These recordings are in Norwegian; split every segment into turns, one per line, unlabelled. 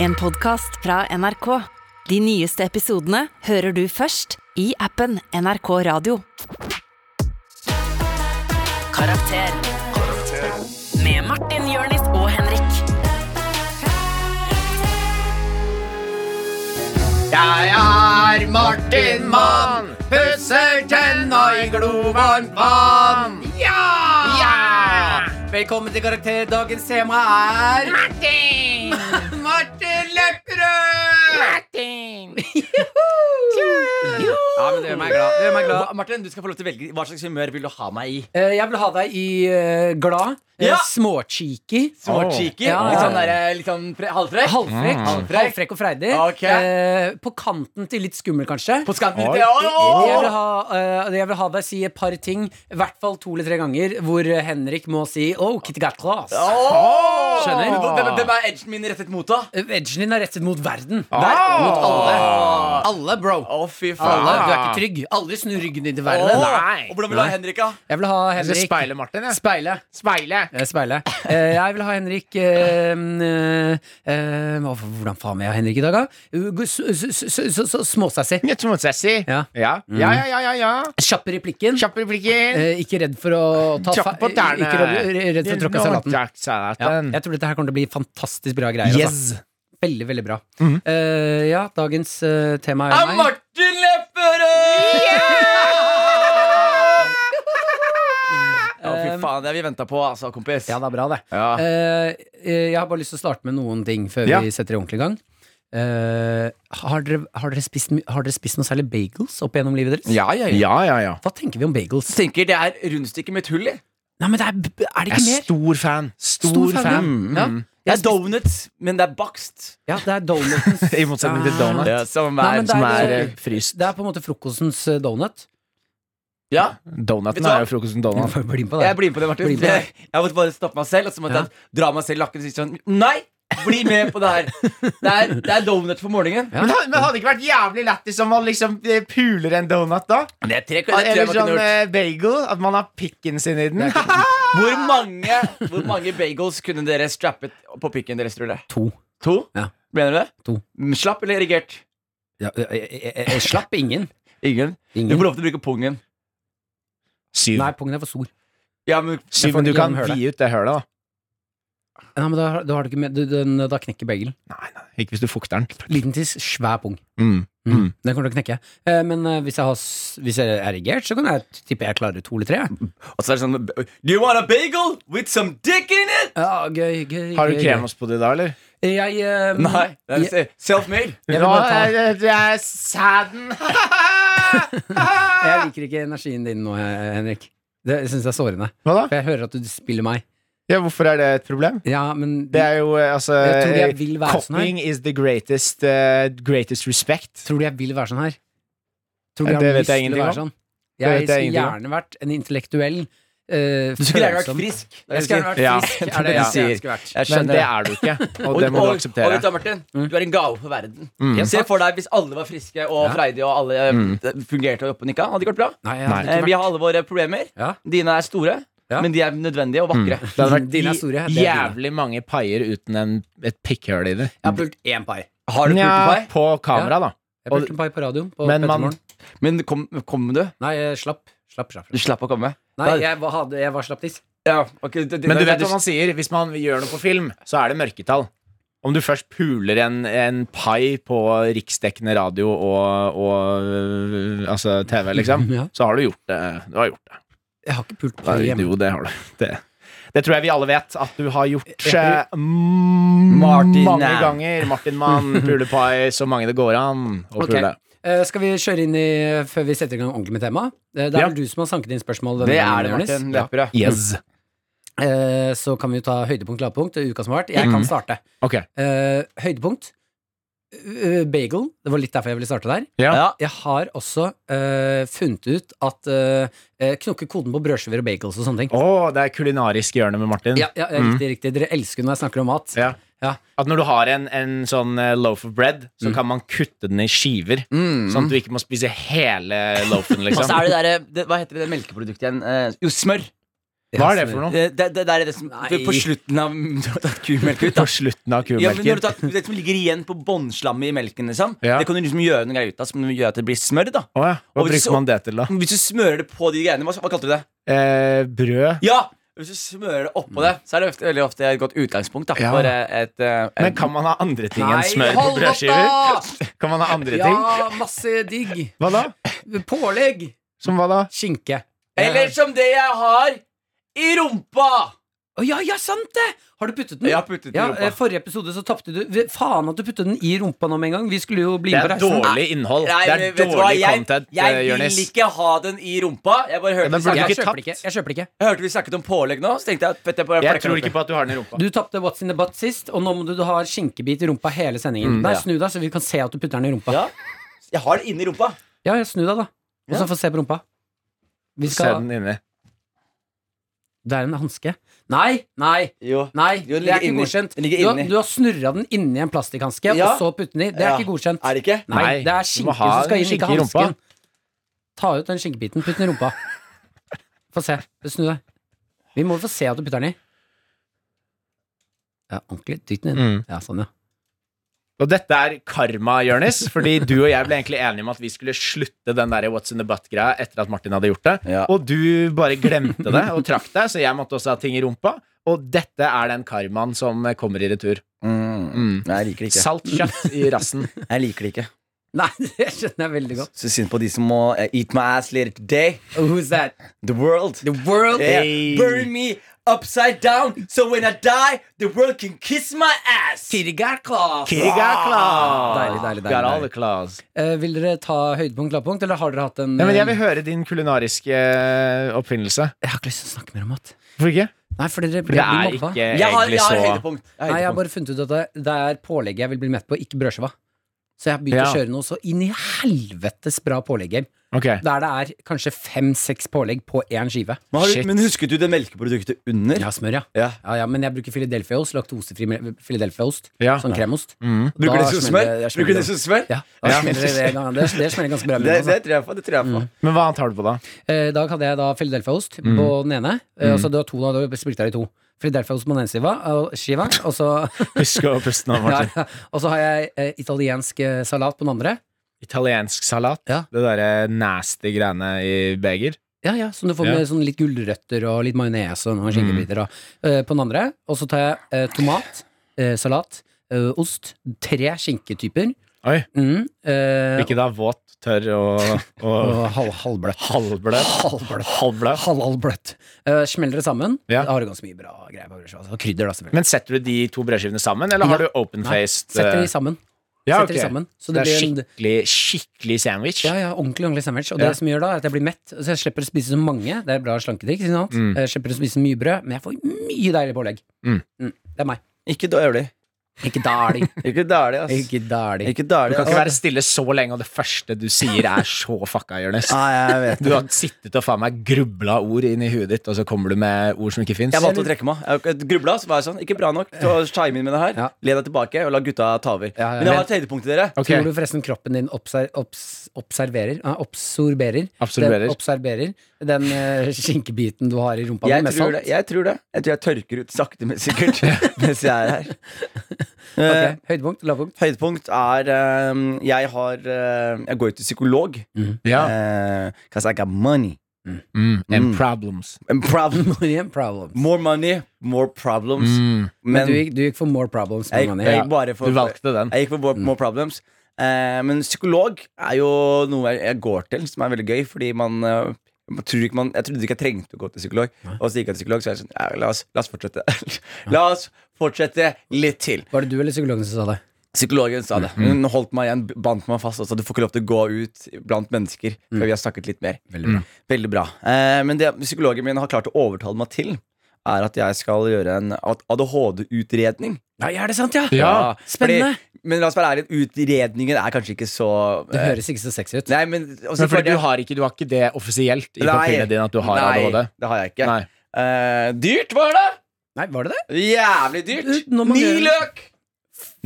En podcast fra NRK. De nyeste episodene hører du først i appen NRK Radio. Karakter. Med Martin, Jørnis og Henrik.
Jeg er Martin Mann, pusser tenna i glovarmt vann. Ja! Velkommen til Karakter. Dagens tema er
Martin!
Martin Lepperød!
Martin!
Ja, men det gjør meg glad. Det gjør meg glad.
Hva- Martin, du skal få lov til å velge hva slags humør vil du ha meg i.
Eh, Jeg vil ha deg i eh, glad, eh,
Ja!
småcheeky,
Smart cheeky,
Ja.
litt sånn, der, litt sånn pre halvfrekk.
halvfrekk,
Halvfrekk.
halvfrekk og freidig.
Mm. Ok.
eh, På kanten til litt skummel, kanskje.
På skanten
Oi.
til Åh!
Jeg vil, ha, eh, jeg vil ha deg si et par ting, i hvert fall to eller tre ganger, hvor eh, Henrik må si Oh, Kitty Gat Class.
Åh!
Skjønner.
Men Hvem, hvem er edgen min rettet mot, da?
Eh, Edgen din er rettet mot verden.
Ah!
mot alle.
Ah!
Alle, bro.
Å, fy
Alle,
faen.
Du er ikke trygg. Aldri snu ryggen din til
Ah! Åh!
verden.
Og hvordan vil du ha Henrik, da?
Jeg vil ha
Jeg skal
Henrik
speile Martin, jeg.
Speile.
Speile.
Eh, Speile. Eh, jeg vil ha Henrik eh, eh, eh, hva- Hvordan faen vil jeg ha Henrik i dag, da? Uh, s- s- s- s- s- Småsassy.
Litt som en sassy.
Ja.
Ja. ja, ja, ja, ja. ja.
Kjapp i replikken.
Kjapp replikker.
Eh, ikke redd for å ta
Kjapp på
fe-
tærne.
Ikke redd, redd for å tråkke salaten.
Takk,
Ja,
salaten.
jeg tror dette her kommer til å bli fantastisk bra greier. altså. Veldig, veldig bra.
Mhm.
Eh, ja, dagens eh, tema
Er
er meg.
Martin Lepperød! Å, fy faen. Det har vi venta på, altså, kompis.
Ehm, Ja, det er bra, det.
Ja.
Eh, eh, jeg har bare lyst til å starte med noen ting før
Ja.
vi setter i ordentlig gang. Eh, har, dere, har, dere spist, my- har dere spist noe særlig bagels opp gjennom livet deres?
Ja, ja, ja.
Ja, ja, ja.
Hva tenker vi om bagels?
Tenker det er rundstykket med et hull i.
Nei, men det er, er det
Jeg
ikke
er
mer?
stor fan. Stor, fan.
Mm, Ja.
Det er donuts, men det er bakst.
ja, det er donutens
I motsetning til donut.
Det er som
Nei,
er,
men det er
som
ikke
er
så-
eh, fryst.
Det er på en måte frokostens eh, donut.
Ja, Vet
Donaten
du hva?
er jo frokosten donut.
Bare Bli med på det.
jeg blir med på det, Martin.
Bli med på det.
Jeg, jeg måtte bare stoppe meg selv, og så måtte
Ja.
jeg dra meg selv i lakken og si sånn Nei! Bli med på det her. Det er, det er donut for morgenen.
Ja.
Men hadde, men hadde det ikke vært jævlig lættis om man liksom eh, puler en donut, da?
Det er tre kvarter jeg
Eller
må
sånn
kunne gjort.
eh, bagel. At man har pikken sin i den.
eh,
Hvor
ah!
mange, hvor mange bagels kunne dere strappet på pikken deres, tror dere?
To.
To?
Ja.
Mener du det?
To.
Mm, Slapp eller erigert?
Ja, eh, eh, eh, eh, slapp ingen.
Ingen. Du
ingen.
får lov til å bruke pungen.
Syv.
Nei, pungen er for stor.
Ja, men
Syv,
får
men du kan
gjennomhøre det.
vide ut det hølet, da.
Nei, men da, da, har du ikke med, du, den, da knekker bagelen.
Nei, nei. Ikke hvis du fukter den.
Liten tiss, svær pung.
Mm.
Mm.
Mm.
Den kommer til å knekke. Eh, men eh, hvis, jeg har, s- hvis jeg er erigert, så kan jeg tippe jeg klarer to eller tre.
Og så er det sånn Do you want a bagel with some dick in it?
Ja, gøy, gøy,
Har du
gøy,
kremost på det da, eller?
gøy. Jeg, eh,
Nei. det er Self-made.
Jeg vil bare ta-
det, det er sæden.
jeg liker ikke energien din nå, eh, Henrik. Det syns jeg er sårende.
Hva da?
For jeg hører at du spiller meg.
Ja, hvorfor er det et problem?
Ja, men
Det er jo eh, altså
Jeg tror jeg
eh,
vil være sånn her.
Copying is the greatest, eh, greatest respect.
Tror du jeg vil være sånn her? Tror du
Ja,
jeg
det
har
vet jeg
lyst til å
ingenting
være
om.
sånn?
Det
Jeg
vet jeg
skulle
ingenting om.
gjerne vært en intellektuell eh,
Du skulle gjerne vært
følsom-
frisk. det er det
Jeg
du
skulle gjerne
sier.
vært
Ja.
Det
frisk, er det
du
jeg sier
sier.
jeg skulle vært.
Jeg
Men
skjønner
det er du ikke, og det må du
Og
akseptere.
vet du, Martin, du er en gave for verden.
Mm.
Se for deg hvis alle var friske og
Ja.
freidige og alle eh, fungerte og oppe og nikka. Hadde det ikke vært bra?
Nei, jeg
Nei.
hadde
Eh,
ikke
Vi
vært
har alle våre problemer.
Ja.
Dine er store,
Ja.
men de er nødvendige og vakre.
Det hadde vært
Dine er
i-
store, det er
jævlig mange paier uten en, et pikkhøl i det.
Jeg har pult én pai.
Har du pult på
Nja,
deg?
på kamera, da.
Jeg pulte en pai på radioen. På
Men man-
Petermorgen.
Men kom, kom du?
Nei, jeg slapp. Slapp, slapp,
Du
slapp.
slapp å komme.
Nei, jeg var, hadde, jeg var slapp tiss.
Ja, ok, det- det-
Men du
det- sånn
vet hva man sier? Hvis man gjør noe på film, så er det mørketall. Om du først puler en, en pai på riksdekkende radio og, og øh, altså TV, liksom,
Ja.
så har du gjort det. Du har gjort det.
Jeg har ikke pult
Da,
pai hjemme.
jo, det har du. Det, det tror jeg vi alle vet at du har gjort
Jeg-
eh, m-
Martin
mange
Mann.
ganger. Martin Mann, pulepai, så mange det går an å
Ok.
pule.
Eh, skal vi kjøre inn i før vi setter i gang ordentlig med temaet? Eh, det er
Ja.
vel du som har sanket inn spørsmål? denne
Det
gangen,
er det,
Jonis.
Martin
Ja.
Lepperød.
Yes.
Eh, så kan vi jo ta høydepunkt, lavpunkt, uka som har vært.
Mhm.
Jeg kan starte.
Ok.
Eh, høydepunkt. eh, bagel. Det var litt derfor jeg ville starte der.
Ja.
Ja.
Jeg har også eh, funnet ut at eh, eh, Knokke koden på brødskiver og bagels og sånne ting.
Å, det er kulinarisk hjørne med Martin.
Ja, ja, ja, Riktig, riktig. Dere elsker når jeg snakker om mat.
Ja.
Ja.
At når du har en, en sånn eh, loaf of bread,
Mm.
så kan man kutte den i skiver. Sånn at du ikke må spise hele loafen,
Og
liksom.
så er det derre Hva heter det melkeproduktet igjen? Eh, Jo, smør.
Hva er det for noe?
Det, det, det der er det som
Nei.
På slutten av Du har tatt kumelk ut, da.
På slutten av
Ja, men når du
kumelken.
tar, det som ligger igjen på bånnslammet i melken, liksom,
Ja.
det kan du liksom gjøre noe greier ut av, som gjør at det blir smør. da
Å ja. Hva
Og hvis
bruker
du-
man det til, da?
Hvis du smører det på de greiene, hva, hva kalte du det?
Eh, brød.
Ja! Hvis du smører det oppå det, så er det ofte, veldig ofte et godt utgangspunkt. Da,
Mm. Ja.
for eh, et, eh, en-
Men kan man ha andre ting enn
Nei,
smør på
hold opp
brødskiver? Kan man ha andre ting?
Ja, masse digg.
Hva da?
Pålegg.
Som hva da?
Skinke.
Eller som det jeg har i rumpa!
Å ja, ja, sant det! Har du
Mm.
puttet den?
Jeg har puttet den i
Ja,
rumpa.
eh, Forrige episode så tapte du Ve- Faen at du puttet den i rumpa nå med en gang. Vi skulle jo bli
Det er
med på reisen.
dårlig innhold.
Nei,
Det er
men vet du hva,
dårlig
jeg,
content,
jeg
eh, Jonis.
vil ikke ha den i rumpa. Jeg bare hørte,
Ja, men
vi
burde
snakket-
du
Jeg
ikke
kjøper det
tapt?
ikke. Jeg kjøper det ikke.
jeg hørte vi snakket om pålegg nå, så tenkte jeg at jeg bare
Jeg tror ikke på at du har den i rumpa.
Du tapte What's in the butt sist, og nå må du ha skinkebit i rumpa hele sendingen. Nei,
Mm, ja.
snu deg, så vi kan se at du putter den i rumpa.
Ja. Jeg har det inni rumpa.
Ja, ja, snu deg, da. Og så
Ja.
få se på rumpa. Vi
Se
skal
den inni.
Det er en hanske. Nei, nei,
Jo.
nei.
Jo, den
det er
ligger
ikke
inni.
godkjent.
Den ligger
Du har,
inni.
du har snurra den inni en plastikkhanske,
Ja.
og så putte den i. Det er
Ja.
ikke godkjent.
Er det ikke?
Nei,
Nei,
det er
du må
skinke
ha
som skal
en
inn, ikke
skinke i rumpa.
hansken. Ta ut den skinkebiten, putt den i rumpa. Få se. Snu deg. Vi må få se at du putter den i. Ja, ordentlig. Dytt den inn.
Mm.
Ja, sånn, ja.
Og dette er karma, Jonis, fordi du og jeg ble egentlig enige om at vi skulle slutte den der What's in the butt-greia etter at Martin hadde gjort det.
Ja.
Og du bare glemte det og trakk deg, så jeg måtte også ha ting i rumpa. Og dette er den karmaen som kommer i retur. Mm.
Nei, jeg liker det ikke.
Salt kjøtt i rassen.
Jeg liker det ikke.
Nei, det skjønner jeg veldig godt. Oh,
Så synd på de som må eh, eat my ass later today.
Who's that?
The world.
The world?
Yeah.
Hey.
Bury me upside down, so when I die, the world can kiss my ass.
Kirgarklas!
Ah.
Deilig, deilig, deilig,
Got all
deilig.
the claws.
Eh, vil dere ta høydepunkt, lavpunkt, eller har dere hatt en
Nei, men jeg vil
eh,
høre din kulinariske eh, oppfinnelse.
jeg har ikke lyst til å snakke mer om mat.
Hvorfor ikke?
Nei, for dere
For
blir
det er
mobba.
ikke
Jeg har,
egentlig
jeg har
så
høydepunkt. Jeg har
Nei, jeg har
høydepunkt.
bare funnet ut at det, det er pålegget jeg vil bli mett på, ikke brødskiva. Så jeg har begynt
Ja.
å kjøre noe så inn i helvetes bra pålegger.
Ok.
Der det er kanskje fem-seks pålegg på én skive.
Men, har
Shit.
du, men husket du det melkeproduktet under?
Ja, smør, ja.
Ja.
Ja, ja, Men jeg bruker Philadelphia-ost, laktosefri me- Philadelphia-ost.
Ja.
Sånn kremost.
Mm. Bruker
Da
det som
smeller
smør?
det- jeg smeller
Bruker det
det.
som smør?
Ja, da
Ja.
smeller det, det, gang- det, det smeller ganske bra. i
Det,
munnen, altså.
det tror jeg på. det tror jeg på
Men hva annet har du på, da?
Eh, I dag hadde jeg da Philadelphia-ost
Mm.
på den ene. Eh, Altså, du har to, da, du splitter deg i to. Philadelphia-ost på den ene skiva, og, skiva, og, så,
Husk å puste nå,
ja,
Martin.
ja. og så har jeg eh, italiensk eh, salat på den andre.
Italiensk salat.
Ja.
Det derre nasty greiene i beger.
Ja, ja, som du får
Ja.
med sånn litt gulrøtter og litt majones og noen skinkebiter. og, eh, på den andre. Og så tar jeg eh, tomat, eh, salat, eh, ost. Tre skinketyper.
Oi.
Mm, eh,
Ikke da våt, tørr og, og
og halv, halvbløtt.
halvbløtt.
Halvbløtt.
Halvbløtt.
Halv, halvbløtt. Eh, smeller det sammen.
Ja.
Da har du ganske mye bra greier. på brødskiva. Og krydder, da, selvfølgelig.
Men setter du de to brødskivene sammen, eller har
Nei.
du open-faced?
Setter
eh,
de sammen.
ja, ok.
Setter de sammen. Så
det
det,
er
blir
skikkelig,
en
skikkelig sandwich.
ja, ja, ordentlig ordentlig sandwich. Og
Ja.
det som gjør da, er at jeg blir mett. Så jeg slipper å spise så mange. Det er bra slanketrikk. ikke sant?
Mm.
Jeg slipper å spise mye brød, men jeg får mye deilig pålegg.
Mm.
Det er meg.
Ikke dårlig.
Ikke dælig.
Ikke dårlig, ass.
Ikke dælig.
Ikke
Du
dårlig,
kan
ass.
ikke være stille så lenge, og det første du sier, er så fucka, Jonis.
Nei, jeg vet
Du har sittet og faen meg grubla ord inn i huet ditt, og så kommer du med ord som ikke fins.
Jeg valgte å trekke meg. Jeg grubla, så var jeg sånn. Ikke bra nok til å chime inn med det her.
Ja.
Le deg tilbake og la gutta ta over.
Ja, ja,
Men jeg
men-
har et høydepunkt til dere.
Ok.
Tror du forresten kroppen din obser, obs, observerer ah, Absorberer.
Absorberer.
Den, observerer den eh, skinkebiten du har i rumpa
Jeg
med
tror, det,
salt?
jeg tror det. Jeg tror jeg tørker ut sakte, men sikkert mens jeg er her. Eh,
Ok, Høydepunkt? Lavpunkt?
Høydepunkt er eh, Jeg har eh, Jeg går jo til psykolog.
Ja.
Because I got money.
Mm. And
Mm.
problems.
And problem.
Million problems.
More money, more problems.
Mm.
men,
Men
du,
jeg,
gikk, du gikk for more problems?
jeg,
Mani.
gikk bare for
Du valgte den.
Jeg gikk for more, more problems. Eh, men psykolog er jo noe jeg, jeg går til, som er veldig gøy, fordi man eh, man tror ikke man, jeg trodde ikke jeg trengte å gå til psykolog, og så gikk jeg til psykolog, så er jeg sånn ja, la, oss, la oss fortsette. la oss fortsette litt til.
Var det du eller psykologen som sa det?
Psykologen sa
Mm.
det. Hun holdt meg igjen, bandt meg fast. Altså, du får ikke lov til å gå ut blant mennesker før vi har snakket litt mer. Mm.
Mm. Veldig bra.
Veldig bra. Eh, men det psykologen min har klart å overtale meg til, er at jeg skal gjøre en ADHD-utredning.
Ja, ja, er det sant, ja?
Ja.
Spennende.
Fordi, men la oss være ærlige, utredningen er kanskje ikke så
Det
eh,
høres ikke så sexy ut.
Nei, men også
Men Altså, fordi
fordi-
du har, ikke, du har ikke det offisielt i
Nei.
papirene dine at du har
Nei,
ADHD?
det har jeg ikke.
Nei.
Eh, dyrt var det!
Nei, var det det?
Jævlig dyrt.
Du, når man
Ni
gjør-
løk!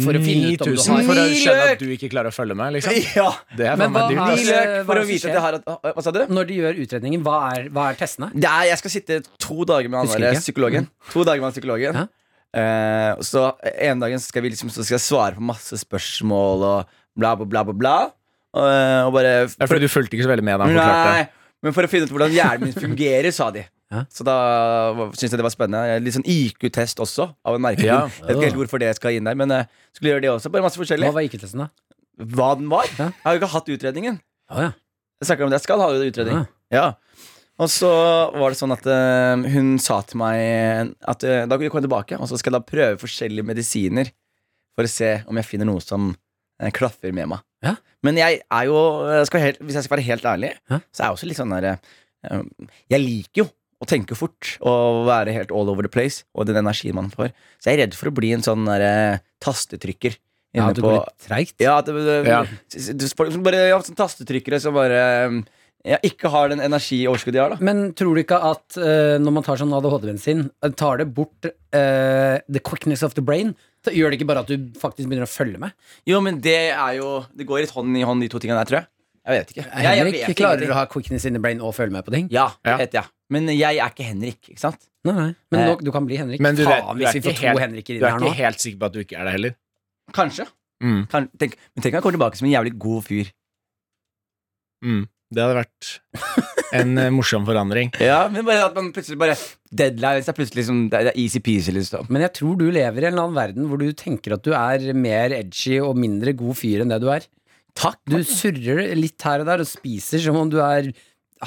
For å finne ut om du
9000
har For å
Ni
skjønne
løk!
at du ikke klarer å følge med, liksom.
Ja.
Det er faen
Men
meg
hva
dyrt.
har-
Ni løk
hva er
for å
det som
vite at
skjer?
jeg har at, Hva hva sa du?
Når de gjør utredningen, hva er, hva er testene?
Det er, jeg skal sitte to dager med han
Husker
der
ikke.
psykologen.
Mm.
To dager med han psykologen
Ja.
Eh, Så en dagen så skal, vi liksom, så skal jeg svare på masse spørsmål og bla, bla, bla. bla, bla. Eh, og bare
Det er fordi du fulgte ikke så veldig med da han forklarte
Nei, men for å finne ut hvordan hjernen min fungerer, sa de.
Ja.
Så da syntes jeg det var spennende. Jeg- Litt sånn IQ-test også, av en merkelig
Ja.
grunn. Jeg vet ikke helt hvorfor det skal inn der, men eh, skulle gjøre det også. Bare masse forskjellig. Hva,
Hva var IQ-testen, da?
den var?
Ja.
Jeg har jo ikke hatt utredningen.
Å, ja.
Jeg snakker om det. Jeg skal ha utredning.
Ja.
Ja. Og så var det sånn at eh, hun sa til meg at eh, da kan vi komme tilbake, og så skal jeg da prøve forskjellige medisiner for å se om jeg finner noe som eh, klaffer med meg.
Ja.
Men jeg er jo, eh, skal helt, hvis jeg skal være helt ærlig,
Ja.
så er jeg også litt sånn der eh, Jeg liker jo å tenke fort og være helt all over the place, og den energien man får. Så jeg er redd for å bli en sånn der, eh, tastetrykker.
ja,
inne
det
på
går litt treigt.
ja, at det, det,
Ja.
s- s- Folk som bare ja, sånn tastetrykkere som bare um, ja, ikke har den energioverskuddet de har, da.
Men tror du ikke at eh, når man tar sånn ADHD-bensin, eh, tar det bort eh, the quickness of the brain? Så gjør det ikke bare at du faktisk begynner å følge med?
Jo, men det er jo Det går litt hånd i hånd, de to tingene der, tror jeg. Jeg vet ikke. Jeg, jeg
Henrik
vet
klarer
ingenting.
å ha quickness in the brain og følge med på ting.
Ja, det
Ja.
vet jeg. Men jeg er ikke Henrik, ikke sant?
Nei, nei. Men
Eh,
nå, du kan bli Henrik.
Men du vet-
Faen,
du er
hvis vi
ikke
får
helt-
to
Du
Henriker inn
er
her
ikke
nå.
helt sikker på at du ikke er det heller.
Kanskje.
Mm.
Kan, tenk, men tenk om jeg kommer tilbake som en jævlig god fyr.
Mm. Det hadde vært en eh, morsom forandring.
Ja, men bare at man plutselig bare Deadline hvis det er plutselig liksom, det er det er easy peasy, liksom.
Men jeg tror du lever i en eller annen verden hvor du tenker at du er mer edgy og mindre god fyr enn det du er.
Takk.
Du surrer litt her og der og spiser som om du er,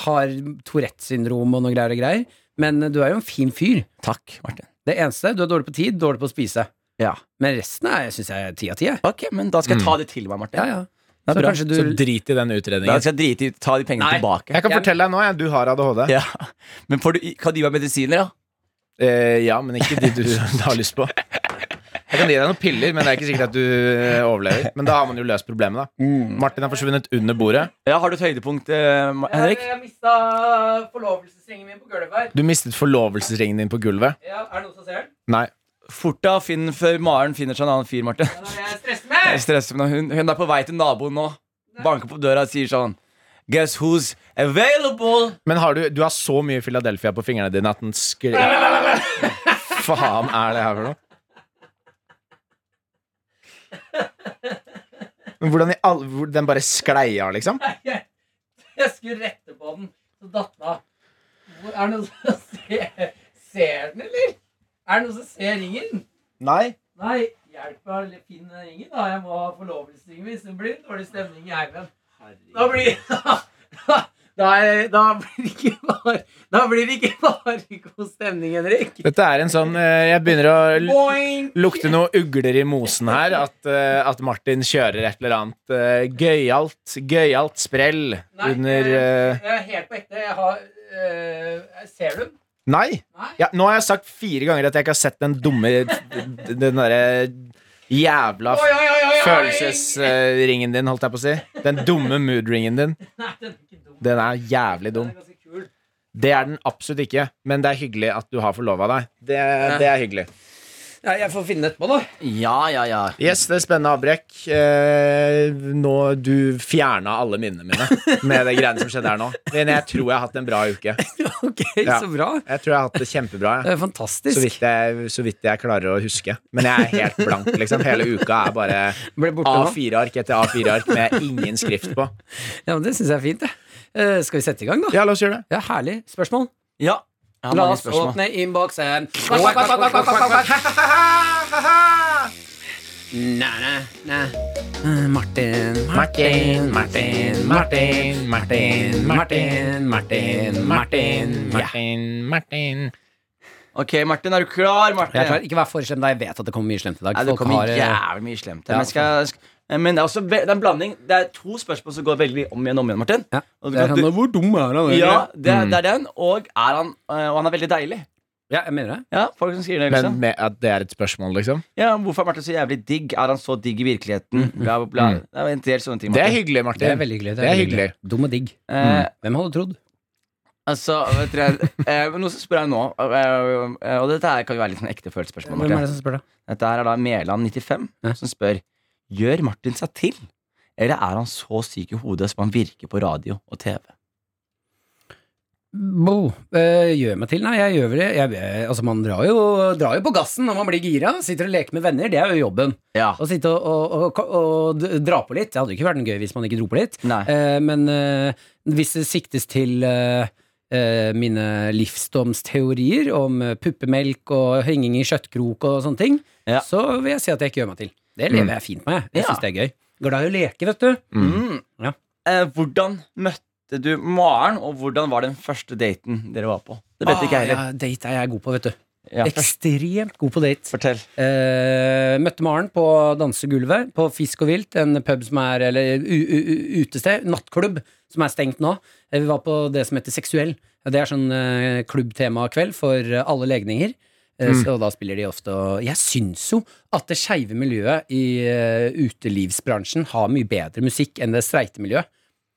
har Tourettes syndrom og noe greier og greier. Men eh, du er jo en fin fyr.
Takk, Martin.
Det eneste, du er dårlig på tid, dårlig på å spise.
Ja.
Men resten er, syns jeg er ti av ti. jeg.
Ok, men da skal jeg ta det til meg, Martin.
Mm. Ja, ja.
Det er
Så
bra.
kanskje du
Så drit i den
Da
utredningen.
skal jeg drite i å ta de pengene
Nei.
tilbake.
Jeg kan fortelle deg nå, jeg. Du har ADHD.
Ja. Men får du, kan du gi meg medisiner, da?
Eh, ja, men ikke de du har lyst på. Jeg kan gi deg noen piller, men det er ikke sikkert at du eh, overlever. Men da har man jo løst problemet, da. Martin har forsvunnet under bordet.
Ja, Har du et høydepunkt, eh, Ma- Henrik?
Jeg mista forlovelsesringen min på gulvet her.
Du mistet forlovelsesringen din på gulvet.
Ja, er det noen som ser den?
Nei.
Fort da, finn før Maren finner seg en annen fyr, Martin.
Jeg stresser
Jeg
med!
stresser med henne. hun, hun er på vei til naboen nå. Banker på døra og sier sånn Guess who's available?
Men har du, du har så mye Philadelphia på fingrene dine at den skri... Faen er det her for noe? Men hvordan i all... hvor- Den bare sklei av, liksom?
Jeg skulle rette på den, så datt den av. Hvor- Er det noen som ser, ser den, eller? Er det noen som ser ringen?
Nei.
Nei, hjelp meg å finne den ringen, da. Jeg må ha forlovelsesringen min. så Det blir en dårlig stemning i heimen. Da blir Da, er- da blir det ikke bare Da blir det ikke bare god stemning, Henrik.
Dette er en sånn eh, Jeg begynner å l-
Boing!
lukte noen ugler i mosen her. At, eh, at Martin kjører et eller annet eh, gøyalt gøyalt sprell
Nei,
under
jeg,
eh,
jeg er helt på ekte. Jeg har øh, Ser du den?
Nei!
Nei.
Ja, nå har jeg sagt fire ganger at jeg ikke har sett den dumme Den derre jævla
Oi, oi, oi, oi, oi!
Følelsesringen din, holdt jeg på å si. Den dumme moodringen din.
Nei, den er ikke dum.
Den er jævlig
Den
dum.
er ganske kul.
Det er den absolutt ikke, men det er hyggelig at du har forlova deg. Det, det er hyggelig.
Ja, jeg får finne den etterpå, da.
Ja, ja, ja.
Yes, det er spennende avbrekk. Eh, nå Du fjerna alle minnene mine med det greiene som skjedde her nå. Men jeg tror jeg har hatt en bra uke.
Ok,
Ja.
så bra.
Jeg tror jeg har hatt det kjempebra. Jeg.
Det er fantastisk.
Så vidt, jeg, så vidt jeg klarer å huske. Men jeg er helt blank. liksom Hele uka er bare
Ble borte nå.
A4-ark etter A4-ark med ingen skrift på.
Ja, men Det syns jeg er fint, det. Eh, skal vi sette i gang, da?
Ja, la oss gjøre det.
Ja, herlig. Spørsmål?
ja. Jeg har
La
mange
oss
spørsmål.
åpne innboksen. Eh, Martin, Martin, Martin, Martin, Martin, Martin, Martin, Martin. Ja.
Ok, Martin, er du klar, Martin?
Jeg er klar. Ikke vær for slem, da. Jeg vet at det kommer mye slemt i dag.
Nei, det
Folk
kommer
har, eh,
jævlig mye slemt. her,
Ja,
men, skal, sk- Eh, men det er også ve det er en blanding. Det er to spørsmål som går veldig om igjen om igjen, Martin.
ja.
Og du
Det er
kan-
sånn, Hvor dum er han? egentlig?
ja, det, er- det er den. Og, er han, eh, og han er veldig deilig.
ja, jeg mener det.
Ja, folk som skriver det. Liksom.
Men med at det er et spørsmål, liksom?
Ja, Hvorfor er Martin så jævlig digg? Er han så digg i
Mm,
virkeligheten? Bla, bla, bla. Det er jo en del sånne ting.
Det er
Martin.
hyggelig,
Det er
Martin.
veldig hyggelig.
Det er hyggelig.
Dum og digg.
Eh,
Hvem hadde trodd?
Altså, vet dere, eh, men noe som spør jeg nå, eh, eh, og dette her kan jo være litt sånn ekte følelsesspørsmål.
Hvem er det
Martin.
som spør, da?
Dette her er da Mæland95
Ja.
som spør Gjør Martin seg til, eller er han så syk i hodet som han virker på radio og TV?
Bo, eh, gjør meg til? Nei, jeg gjør vel det. Jeg, eh, altså, man drar jo, drar jo på gassen når man blir gira. Sitter og leker med venner, det er jo jobben.
Ja.
Å sitte og, og, og, og d- dra på litt. Det hadde jo ikke vært noe gøy hvis man ikke dro på litt.
Nei.
Eh, men eh, hvis det siktes til eh, eh, mine livsdomsteorier om eh, puppemelk og henging i kjøttkrok og sånne ting,
Ja.
så vil jeg si at jeg ikke gjør meg til. Det lever jeg fint med. Jeg
Ja.
syns det er gøy. Går da i å leke, vet du.
Mm.
Ja.
Eh, hvordan møtte du Maren, og hvordan var den første daten dere var på? Det vet ikke jeg heller.
Ah, ja, date er jeg god på, vet du.
Ja.
Ekstremt god på date.
Fortell.
Eh, møtte Maren på dansegulvet på Fisk og Vilt, en pub som er Eller u, u, u, utested, nattklubb, som er stengt nå. Eh, Vi var på det som heter Seksuell. Det er sånn eh, klubbtemakveld for eh, alle legninger. Eh,
Mm.
Så da spiller de ofte og Jeg syns jo at det skeive miljøet i eh, utelivsbransjen har mye bedre musikk enn det streite miljøet.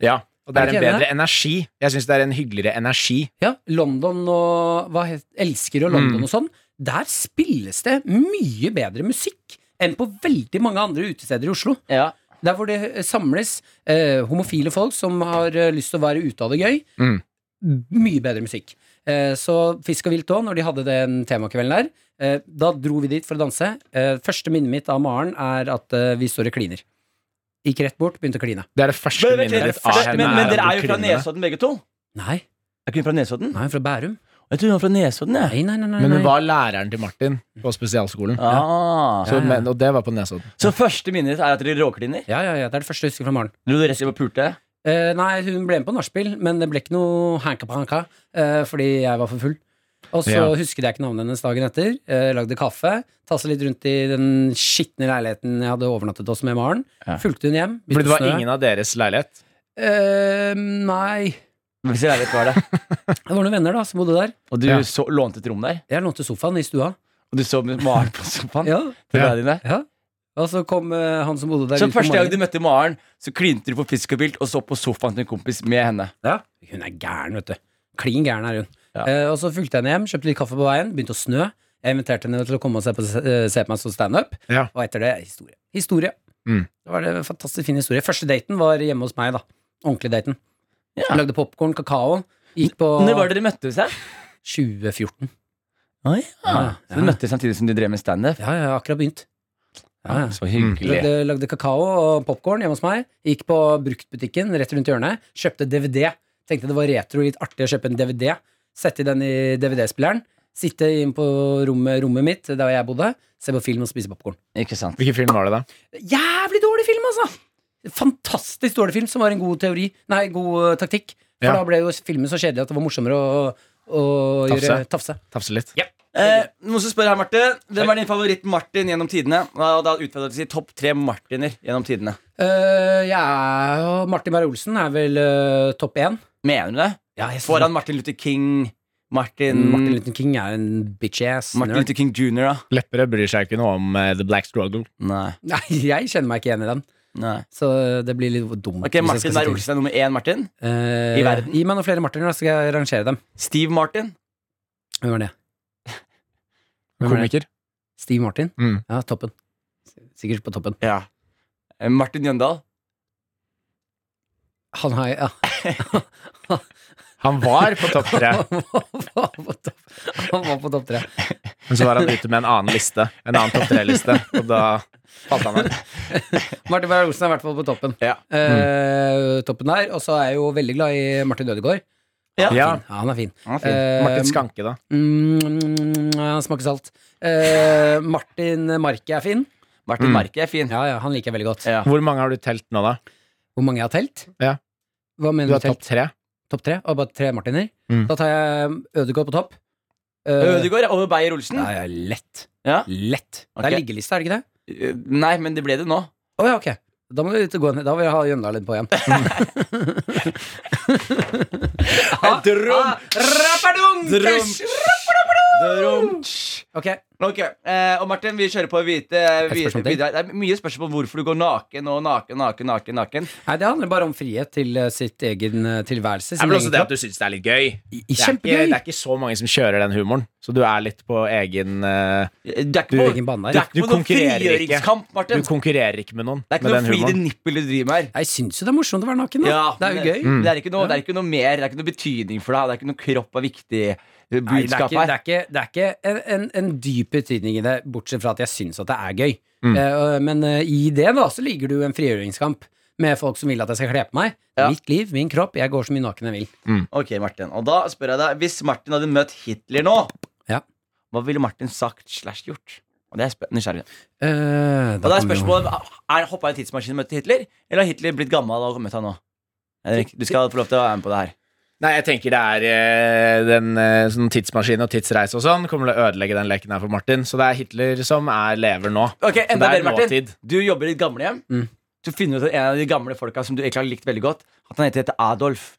Ja, og det
Er
er
du
en
ikke enig i
bedre energi. Jeg syns det er en hyggeligere energi.
Ja, London og hva het, Elsker og London
Mm.
og sånn. Der spilles det mye bedre musikk enn på veldig mange andre utesteder i Oslo.
Ja.
Der hvor det eh, samles eh, homofile folk som har eh, lyst til å være ute av det gøy.
Mm.
Mye bedre musikk. Eh, så Fisk og vilt òg, når de hadde den temakvelden der, eh, da dro vi dit for å danse. Eh, første minnet mitt av Maren er at eh, vi står og kliner. Gikk rett bort, begynte å kline.
Det er det første
Men,
minnet ditt av henne.
dere
at
er
du
jo fra
kliner.
Nesodden, begge to.
Nei,
Er ikke hun fra Nesodden?
nei, fra Bærum.
Jeg tror hun var fra Nesodden, jeg.
Nei, nei, nei. nei,
Men
nei.
hun var læreren til Martin på spesialskolen.
Ah.
Så,
Ja, ja.
men, og det var på Nesodden.
Så første minnet ditt er at dere råkliner?
Ja, ja, ja, det er det første jeg husker fra Maren.
Dro dere rett hjem og pulte?
Eh, nei, hun ble med på nachspiel, men det ble ikke noe hanka-panka eh, fordi jeg var for full. Og så
Ja.
husket jeg ikke navnet hennes dagen etter. eh, lagde kaffe. Tasset litt rundt i den skitne leiligheten jeg hadde overnattet hos med Maren.
Ja.
Fulgte hun hjem.
Fordi det var
snø.
ingen av deres leilighet.
Eh, nei
Hvis jeg vet hva det er.
Det var noen venner da som bodde der.
Og du
Ja.
så, lånte et rom der,
Jeg lånte sofaen i stua.
og du så med Maren på sofaen?
Ja,
Til
Ja.
deg dine.
ja. Og så kom eh, han som bodde der.
Så
ut på
første gang du
morgenen.
møtte Maren, så klinte du på fisk og vilt, og så på sofaen til en kompis med henne.
ja. Hun er gæren, vet du. Klin gæren er hun.
Ja.
Eh, og så fulgte jeg henne hjem, kjøpte litt kaffe på veien, begynte å snø. Jeg inviterte henne til å komme og se på, eh, se på meg som standup.
Ja.
Og etter det, historie. Historie.
Mm.
Det var det en fantastisk fin historie. Første daten var hjemme hos meg, da. Ordentlig daten.
Ja.
Lagde popkorn, kakao. Gikk på
Når var det dere møttes her?
2014.
Oi, ja.
Ja,
Så dere
ja.
møttes samtidig som du drev med standup?
Ja, ja, akkurat begynt. Ja, ja.
Så hyggelig.
Lagde, lagde kakao og popkorn hjemme hos meg. Gikk på bruktbutikken rett rundt hjørnet. Kjøpte DVD. Tenkte det var retro litt artig å kjøpe en DVD. Sette den i DVD-spilleren. Sitte inn på rommet, rommet mitt, der jeg bodde. Se på film og spise popkorn.
Ikke sant?
Hvilken film var det, da?
Jævlig dårlig film, altså! Fantastisk dårlig film, som var en god teori Nei, god eh, taktikk. For
Ja.
da ble jo filmen så kjedelig at det var morsommere å, å
Tafse.
gjøre tafse.
Tafse litt.
Eh, noen som spør her, Marte. Hvem er din favoritt-Martin gjennom tidene? Og da utfordrer jeg til å si topp tre Martiner gjennom tidene.
Eh, jeg er jo Martin Beyer-Olsen er vel eh, topp én.
Mener du det?
Ja, jeg synes Mm,
Foran Martin Luther King, Martin
Martin Luther King er en bitch-ass.
Mm. Martin
nerd.
Luther King jr., da?
Lepperød bryr seg ikke noe om eh, The Black Struggle.
Nei.
Nei, jeg kjenner meg ikke igjen i den,
Nei.
så det blir litt dumt.
Ok, Martin Beyer-Olsen er nummer én, Martin.
i
i verden.
Eh, Gi meg noen flere Martiner, da skal jeg rangere dem.
Steve Martin.
Hvem var det? Hvem var det?
Komiker.
Steve Martin?
Mm.
Ja, toppen. Sikkert på toppen.
Ja. Eh, Martin Jøndal.
Han har ja.
Han var på topp tre,
Han var på topp- han var på topp tre.
men så var han ute med en annen liste. En annen topp tre-liste. Og da falt han av.
Martin Beyer-Olsen er i hvert fall på toppen.
Ja.
Eh, toppen der. Og så er jeg jo veldig glad i Martin Ødegaard.
Ja.
Ja.
Fin. han er fin.
Han er fin.
Eh,
Martin Skanke, da.
Mm, han smaker salt. Eh, Martin Marke er fin.
Martin
Mm.
Marke er fin.
Ja, ja, han liker jeg veldig godt.
Ja.
Hvor mange har du telt nå, da?
Hvor mange jeg har telt?
Ja.
Hva
Du
mener du
har topp
telt?
tre.
Topp tre? Og bare tre Martiner?
Mm.
Da tar jeg Ødegaard på topp. Eh,
Ødegaard er over Beyer-Olsen.
Ja, ja, lett.
Ja.
Lett.
Ok.
Det er liggeliste, er det ikke det?
Eh, Nei, men det ble det nå.
Å ja, ok. Da må du ut og gå ned. Da vil jeg ha Jøndal litt på igjen.
Drum! Ah,
Rapadunk!
Drum! Drum!
Ok,
Men ok, eh, og Martin, vi kjører på hvite, hvite
spørsmål til.
videre. Det er mye spørsmål om hvorfor du går naken og naken, naken, naken. naken
Nei, det handler bare om frihet til eh, sitt egen eh,
Nei,
tilværelse. sin
men
egen
også det
kropp.
at du syns det er litt gøy.
I-
Det er, ikke,
Kjempegøy!
det er ikke så mange som kjører den humoren, så du er litt på egen eh,
Det er
Du
ikke på,
egen banne
det
her.
er ikke
Du
på noen
konkurrerer ikke.
frigjøringskamp,
Du
Martin.
konkurrerer ikke med noen
Det er ikke
med
noe
den
fri det
humoren.
nippel du driver med her.
Jeg syns jo det er morsomt å være naken. Da. det er jo gøy.
Det er, ikke noe, det er ikke noe mer, det er ikke noe betydning for deg. Det er ikke noe kropp er viktig eh,
Nei, det er
budskap
ikke, det
her.
er ikke, det er ikke en, en, en dyp betydning i det, bortsett fra at jeg syns at det er gøy.
Mm.
Eh, og- men eh, i det da, så ligger det jo en frigjøringskamp med folk som vil at jeg skal kle på meg.
Ja.
Mitt liv, min kropp, jeg går så mye naken jeg vil.
Ok, Martin, og da spør jeg deg Hvis Martin hadde møtt Hitler nå,
Ja.
hva ville Martin sagt slash gjort? Og det er jeg spe- nysgjerrig
Eh,
Og da er
kan vi jo-
spørsmålet er, Hoppa i en tidsmaskin og møtte Hitler, eller har Hitler blitt gammel og møtt han nå? Henrik, du skal få lov til å være med på det her.
Nei, jeg tenker det er eh, den eh, sånn tidsmaskin og tidsreise og sånn kommer til å ødelegge den leken her for Martin. Så det er Hitler som er lever nå.
Ok,
Så
enda
det er
bedre, Martin.
nåtid.
Du jobber i et gamlehjem.
Mm.
Så finner du ut at en av de gamle folka som du egentlig har likt veldig godt, at han heter, heter Adolf.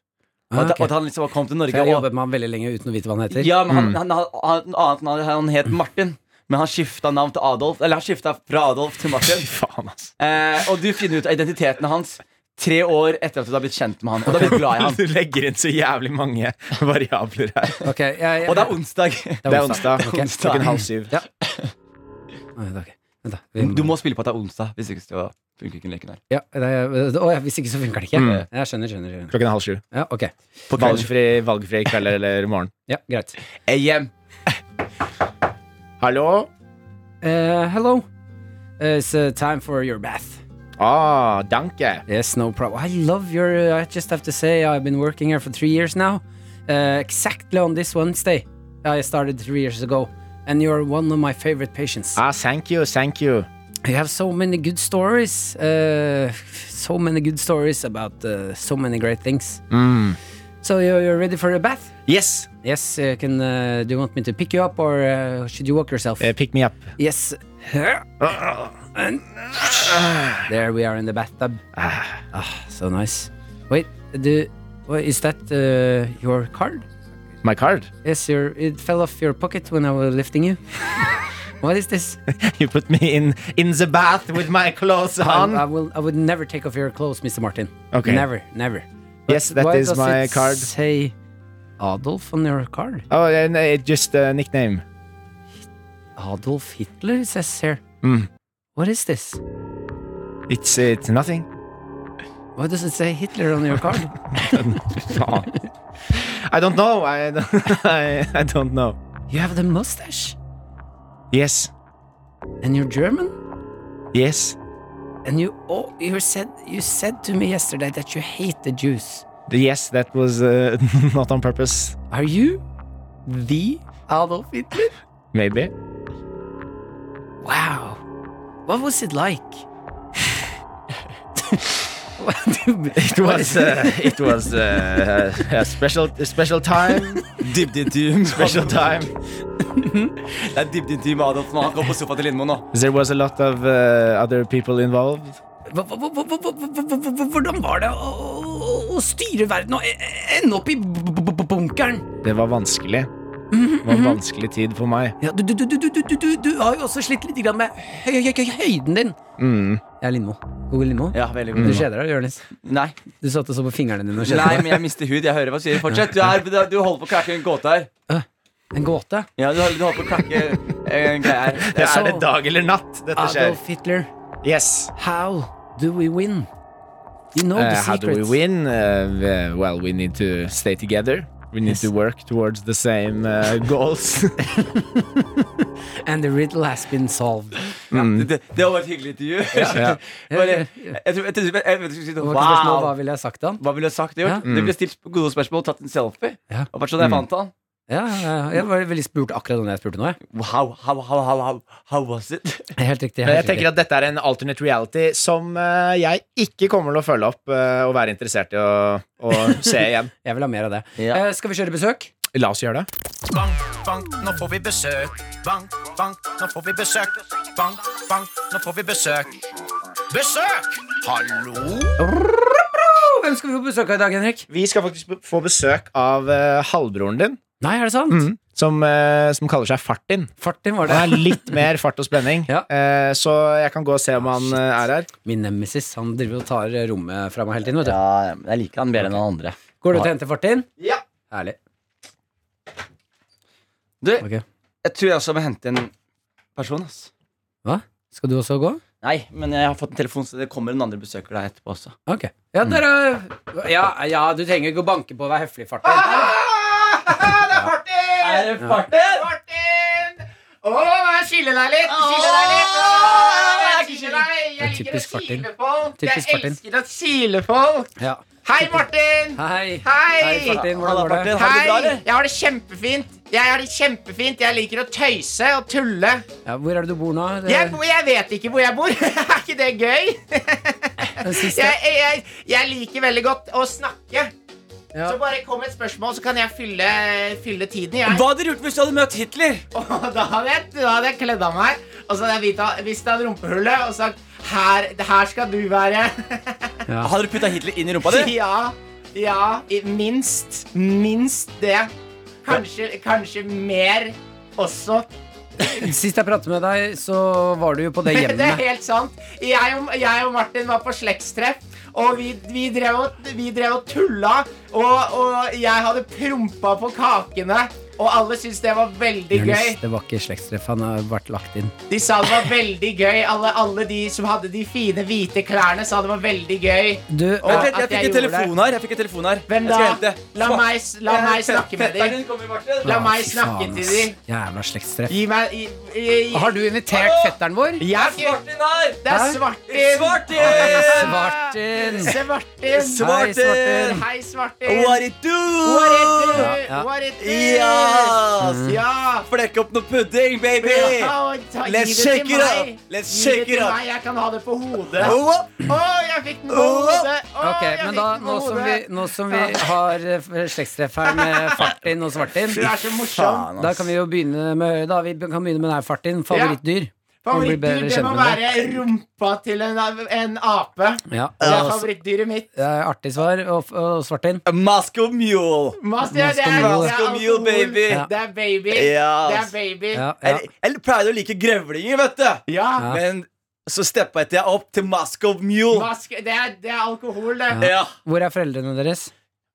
Og
Ah,
at,
ok.
og at han liksom kom til
For
Norge
Jeg har
og
jobbet med han veldig lenge uten å vite hva han heter.
Ja, men han, han, han, han, annet navn- han het Martin, men han skifta navn til Adolf. Eller han skifta fra Adolf til Martin.
Fy faen, ass.
Eh, og du finner ut identiteten hans tre år etter at du har blitt kjent med han. Og du har blitt glad i han.
Du legger inn så jævlig mange variabler her.
Ok, jeg, jeg,
Og det er onsdag.
Det er onsdag
Ok.
klokken halv syv.
Nei, det er ok. Vent da, vi må-
Du må spille på at det er onsdag, hvis ikke så funker ikke den leken her.
ja, det er, å, ja, Hvis ikke, så funker det ikke.
Mm.
Jeg skjønner, skjønner. skjønner.
Klokken halv sju.
Ja, ok.
Valgfri, valgfri kveld eller morgen.
Ja, greit.
AM.
Hallo?
Eh, hello. It's uh, time for your bath.
Ah, danke.
Yes, no problem. I love your. Uh, I just have to say, I've been working here for three years now. Uh, exactly on this Wednesday, I started three years ago, and you're one of my favorite patients.
Ah, thank you, thank you.
You have so many good stories. Uh, so many good stories about uh, so many great things. So you're, you're ready for a bath?
Yes,
Yes. Uh, can uh, do you want me to pick you up, or uh, should you walk yourself?
eh, pick me up.
Yes.
Uh,
And there we are in the bathtub. Ah, so nice. Wait, do what is that uh, your card?
My card?
Yes, your it fell off your pocket when I was lifting you. what is this?
You put me in, in the bath with my clothes on.
I, I will I would never take off your clothes, Mr. Martin.
Um, Okay.
Never, never.
Yes, that
Why
is
does
my
it
card.
Say Adolf on your card.
Oh, and uh, just a nickname.
Adolf Hitler it says here.
Mm.
What is this?
It's, it's nothing.
Why does it say Hitler on your card?
Faen. I don't know. I don't, I, I don't know.
you have the mustache,
Yes,
and you're German.
yes.
And you, oh, you said you said to me yesterday that you hate the Jews.
The Yes, that was uh, not on purpose.
Are you the Adolf Hitler?
Maybe.
Wow, what was it like?
It was. Uh, it was uh, a special, a special time.
Dybdeintervju.
Special time.
Det er dybdeintervju med Adolf når han kommer på sofaen til Lindmo nå.
There was a lot of uh, other people involved.
Hva- hva- hva- hva- hva- hva- hva- hva- hva- Hvordan var det å, å- å styre verden og e- e- ende opp i b- b- b- bunkeren?
Det var vanskelig. Det var en vanskelig tid for meg.
Ja, du, du, du, du, du, du, du, du, du har jo også slitt litt grann med høy, høy, høy, høyden din.
Mm.
Jeg er Lindmo. Gode Lindmo.
Ja, veldig
Du
god.
kjeder deg, Jonis.
Nei.
Du satt og så på fingrene dine og kjeder
Nei,
deg.
men jeg mister hud. Jeg hører hva du sier. Fortsett. Du, er, du holder på å knekke en gåte her.
En gåte.
Ja, du, du holder på å knekke en greie her.
Det
så-
er det dag eller natt dette skjer.
Adolf Hitler.
Yes.
How do we win? You know the
Uh, how do we
secret.
win? Uh, well, we need to stay together. We need to work towards the same uh, goals.
And the riddle has been solved.
Det, det, det var et hyggelig intervju.
Ja.
Bare, jeg, tror- jeg, trodde- jeg, jeg, vet ikke, jeg,
Det
jeg,
var ikke spørsmål, hva
wow!
ville jeg sagt til han?
Hva ville du sagt? Gjort? Det ble stilt gode spørsmål, tatt en selfie.
Ja.
Og vært sånn jeg fant han.
Ja, ja, ja. jeg var veldig spurt akkurat den jeg spurte nå. jeg.
How, how, how, how, how, how was it?
Helt riktig.
Men jeg
Helt
tenker
riktig.
at dette er en alternate reality som eh, jeg ikke kommer til å følge opp eh, og være interessert i å, å se igjen.
Jeg vil ha mer av det.
Ja.
Eh, skal vi kjøre besøk?
La oss gjøre det.
Bank, bank, nå får vi besøk. Bank, bank, nå får vi besøk. Bank, bank, nå får vi besøk. Besøk! Hallo?
Oh, hvem skal vi få besøk av i dag, Henrik?
Vi skal faktisk be- få besøk av eh, uh, halvbroren din.
Nei, er det sant?
som, eh, som kaller seg Fartin.
Fartin var det.
Han er litt mer fart og spenning,
Ja.
eh, så jeg kan gå og se om han eh, er her.
Min nemesis. Han driver og tar eh, rommet fra meg hele tiden. Vet du.
Ja, men jeg liker han bedre enn han andre.
Går du til å hente Fartin?
Ja.
Herlig.
Du,
Ok.
jeg tror jeg også må hente en person. ass
Hva? Skal du også gå?
Nei, men jeg har fått en telefon, så det kommer en andre besøker deg etterpå også.
Ok. Ja, der er Ja, ja du trenger ikke å banke på og være høflig, Fartin.
Det er Martin!
Er det farten?
Martin! Å, skille deg litt! Skille deg litt! Åh, jeg skiller deg!
Det
Jeg
er
liker
typisk
å
Martin.
kile folk!
Typisk
Jeg
Martin.
elsker å kile folk!
Ja.
Hei, Martin!
Hei.
Hei.
Fartin. Hvordan går det?
Martin, har du det bra, eller?
Jeg har det kjempefint. Jeg har det kjempefint. Jeg liker å tøyse og tulle.
Ja, hvor er det du bor nå? Det-
Jeg, bor, jeg vet ikke hvor jeg bor. er ikke det gøy?
Den siste?
Jeg, jeg, jeg liker veldig godt å snakke.
Ja.
Så bare kom med et spørsmål, så kan jeg fylle, fylle tiden. Jeg.
Hva hadde du gjort hvis du hadde møtt Hitler?
Og da hadde jeg, da hadde jeg kledd av meg, og så hadde jeg vita- vist av rumpehullet og sagt her, her skal du være.
Hadde du putta Hitler inn i rumpa di?
Ja. Ja. i- Minst. Minst det. Kanskje, kanskje mer også.
Sist jeg pratet med deg, så var du jo på det
Det er
hjemmet.
helt sant. Jeg og, jeg og Martin var på slektstreff, og vi, vi, drev og, vi drev og tulla. Og, og jeg hadde prompa på kakene, og alle syntes det var veldig gøy.
Jonis, det var ikke slektstreff. Han har vært lagt inn.
De sa det var veldig gøy. Alle, alle de som hadde de fine, hvite klærne, sa det var veldig gøy.
Du,
Vent litt, jeg
at
fikk
jeg
en
gjorde
telefon her. Jeg fikk en telefon her
Hvem
Jeg skal
da?
hente.
La meg, s- la meg snakke med dem.
Fetteren din kommer, Martin.
La
Å,
meg
fy
snakke
faen,
til
ass.
dem.
Jævla slektstreff.
Gi meg i, i,
Har du invitert fetteren vår?
Jeg har ikke-
Martin her!
Det er
Hæ?
Svartin!
Svartin!
Svartin!
Svartin!
Hei, Svartin.
Svartin!
Hei, Svartin!
What it do?
What it do?
Ja, ja.
What it do?
Ja!
Mm. Ja!
Flekk opp noe pudding, baby!
Ja, og ta- gi
Let's
det til
shake it up.
meg.
Let's
Gi
shake
det til
it up.
meg, Jeg kan ha det på hodet. Å,
Oh,
jeg fikk den på
Oh.
hodet! Å,
Ok,
jeg
men
fikk
da,
den på
nå som vi,
hodet.
nå som vi har eh, slektstreff her med Fartin og Svartin,
Du er så morsom.
faen, ass.
da kan vi jo begynne med, da vi kan begynne med denne Fartin. Favorittdyr. Man blir
Favorittdyr,
bedre
det
kjent
må
med
være rumpa til en, en ape.
Ja,
Det
det
er
altså-
favorittdyret mitt.
er artig svar. Og, og Svartin.
Moscow mule.
Mas, det, er- det, er, det, er
Mule.
alkohol,
Mule, baby.
det er baby.
Ja, altså.
Det er
ass.
baby.
Ja, ja.
Jeg, jeg pleide å like grevlinger, vet du.
Ja.
Ja.
Men så steppa jeg opp til Moscow mule.
Mas, det, er, det er alkohol, det.
Ja,
Ja. Hvor er foreldrene deres?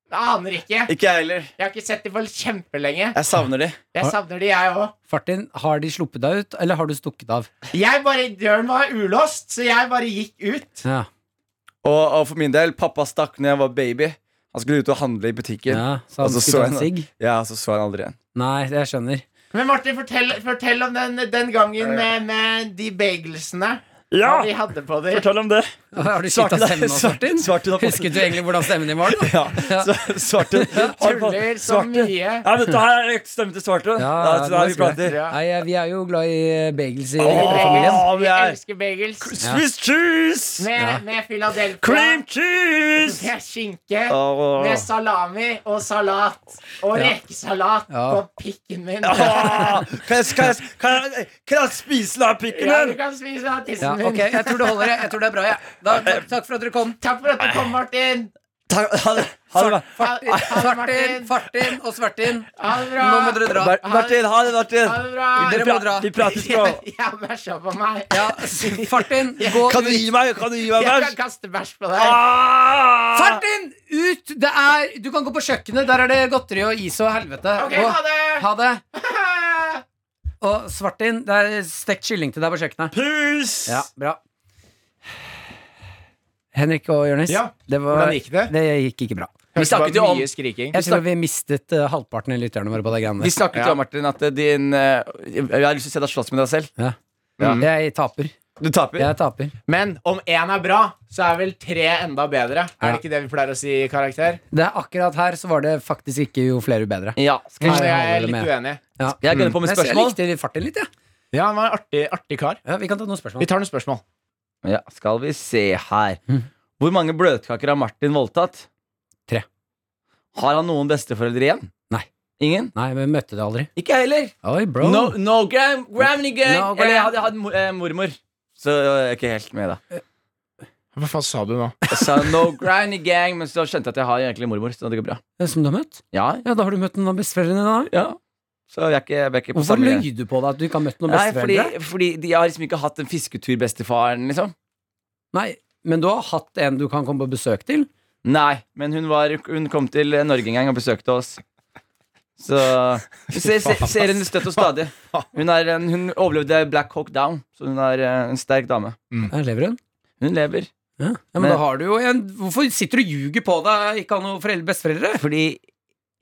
Jeg aner ikke. Jeg
Ikke jeg heller.
har ikke sett det for kjempelenge.
Jeg savner de.
Jeg savner de, jeg òg.
Fartin, har de sluppet deg ut, eller har du stukket av?
Jeg bare, Døren var ulåst, så jeg bare gikk ut.
Ja.
Og, og for min del, pappa stakk når jeg var baby. Han skulle ut og handle i butikken.
ja så han
Og så så
skulle ta en
jeg-
sigg?
Ja, så så han aldri igjen.
Nei, jeg skjønner.
Men Martin, fortell, fortell om den, den gangen med, med de bagelsene.
Ja,
Hva de hadde på dem.
om det.
Har du skifta stemme nå, Martin? Husket du egentlig hvordan stemmen din var? nå?
Ja, Svarten.
Tuller så mye.
Ja, men dette her er stemmen til Svarten.
Ja, ja,
det er sånn
nå
vi
skal
prater.
Ja.
Nei, eh, vi er jo glad i eh, bagels i familien.
Åh, vi
Vi
er
elsker bagels.
Swiss cheese!
Med,
Ja.
med Philadelphia.
Cream cheese!
Med skinke.
Åh.
Med salami og salat. Og rekesalat
Ja.
på pikken min.
Åh, Kan jeg, kan, jeg, kan, jeg, kan jeg spise den her pikken
Ja,
her?
du kan spise av
Ja,
tissen
ok,
min.
jeg tror det holder. Jeg, jeg tror det er bra, jeg.
Eh,
Da, takk, takk for at dere kom.
Takk for at du kom, Martin.
Takk, ha det. Ha det bra.
Ha, ha det,
Fartin,
Martin.
Fartin og Svartin.
Ha det bra.
Nå må dere dra.
Mar- Martin, ha det, Martin.
Ha det bra.
Dere må dra.
Vi prater
Jeg,
etterpå.
jeg bæsja på meg.
Ja, s- Fartin, gå
Kan du
ut.
gi meg Kan du gi meg
Jeg kan
bæsj?
kaste bæsj på deg.
Ah!
Fartin, ut! Det er, du kan gå på kjøkkenet. Der er det godteri og is og helvete.
Ok,
Og-
ha det.
Ha det. Og Svartin, det er stekt kylling til deg på kjøkkenet.
Pus!
Ja, bra. Henrik og Jonis,
Ja,
det, var,
Hvordan gikk det?
det gikk ikke bra.
Vi
snakket jo om-
Mye skriking.
Jeg tror vi mistet eh, halvparten av lytterne våre på det greiene
Vi
der.
snakket jo om, Martin, at din eh, Jeg har lyst til å se deg slåss med deg selv.
Ja.
Mm.
Jeg taper.
Du taper.
Jeg taper.
Men om én er bra, så er vel tre enda bedre. Er det ikke det vi pleier å si i karakter?
Det er akkurat her så var det faktisk ikke jo flere jo bedre.
Ja. Skal
Altså,
Så
Nei,
jeg er
holder
litt
med.
uenig.
Ja.
jeg gønne på med
Men jeg-
spørsmål?
Jeg likte farten litt, jeg.
Ja, han var en artig, artig kar.
Ja. vi kan ta noen
Vi
spørsmål.
tar noen spørsmål.
Ja, skal vi se her Hvor mange bløtkaker har Martin voldtatt?
Tre.
Har han noen besteforeldre igjen?
Nei.
Ingen?
Nei, men vi møtte det aldri.
Ikke jeg heller
Oi, bro.
No, no gram, grammy gang
No gram.
Eller jeg hadde hatt mo- eh, mormor Så jeg er ikke helt med da
Hva faen sa du nå?
Jeg sa no granny gang Men så skjønte jeg at jeg har egentlig mormor Så det går bra
Som du har møtt?
Ja,
Ja, da har du møtt noen av besteforeldrene dine, da.
ja Så vi er ikke, vi er ikke på
Hvorfor
samme
løy du på deg at du ikke har møtt noen
Nei, fordi,
besteforeldre?
fordi de har liksom ikke hatt en fisketur, bestefaren, liksom.
Nei, men du har hatt en du kan komme på besøk til.
Nei, men hun, var, hun kom til Norge en gang og besøkte oss. Så Vi ser, ser, ser henne støtt og stadig. Hun, er en, hun overlevde Black Hawk Down, så hun er eh, en sterk dame.
Her lever hun.
Hun lever.
Ja. ja, men
Men-
da har du jo en Hvorfor sitter du og ljuger på deg ikke har noen foreldre, besteforeldre?
Fordi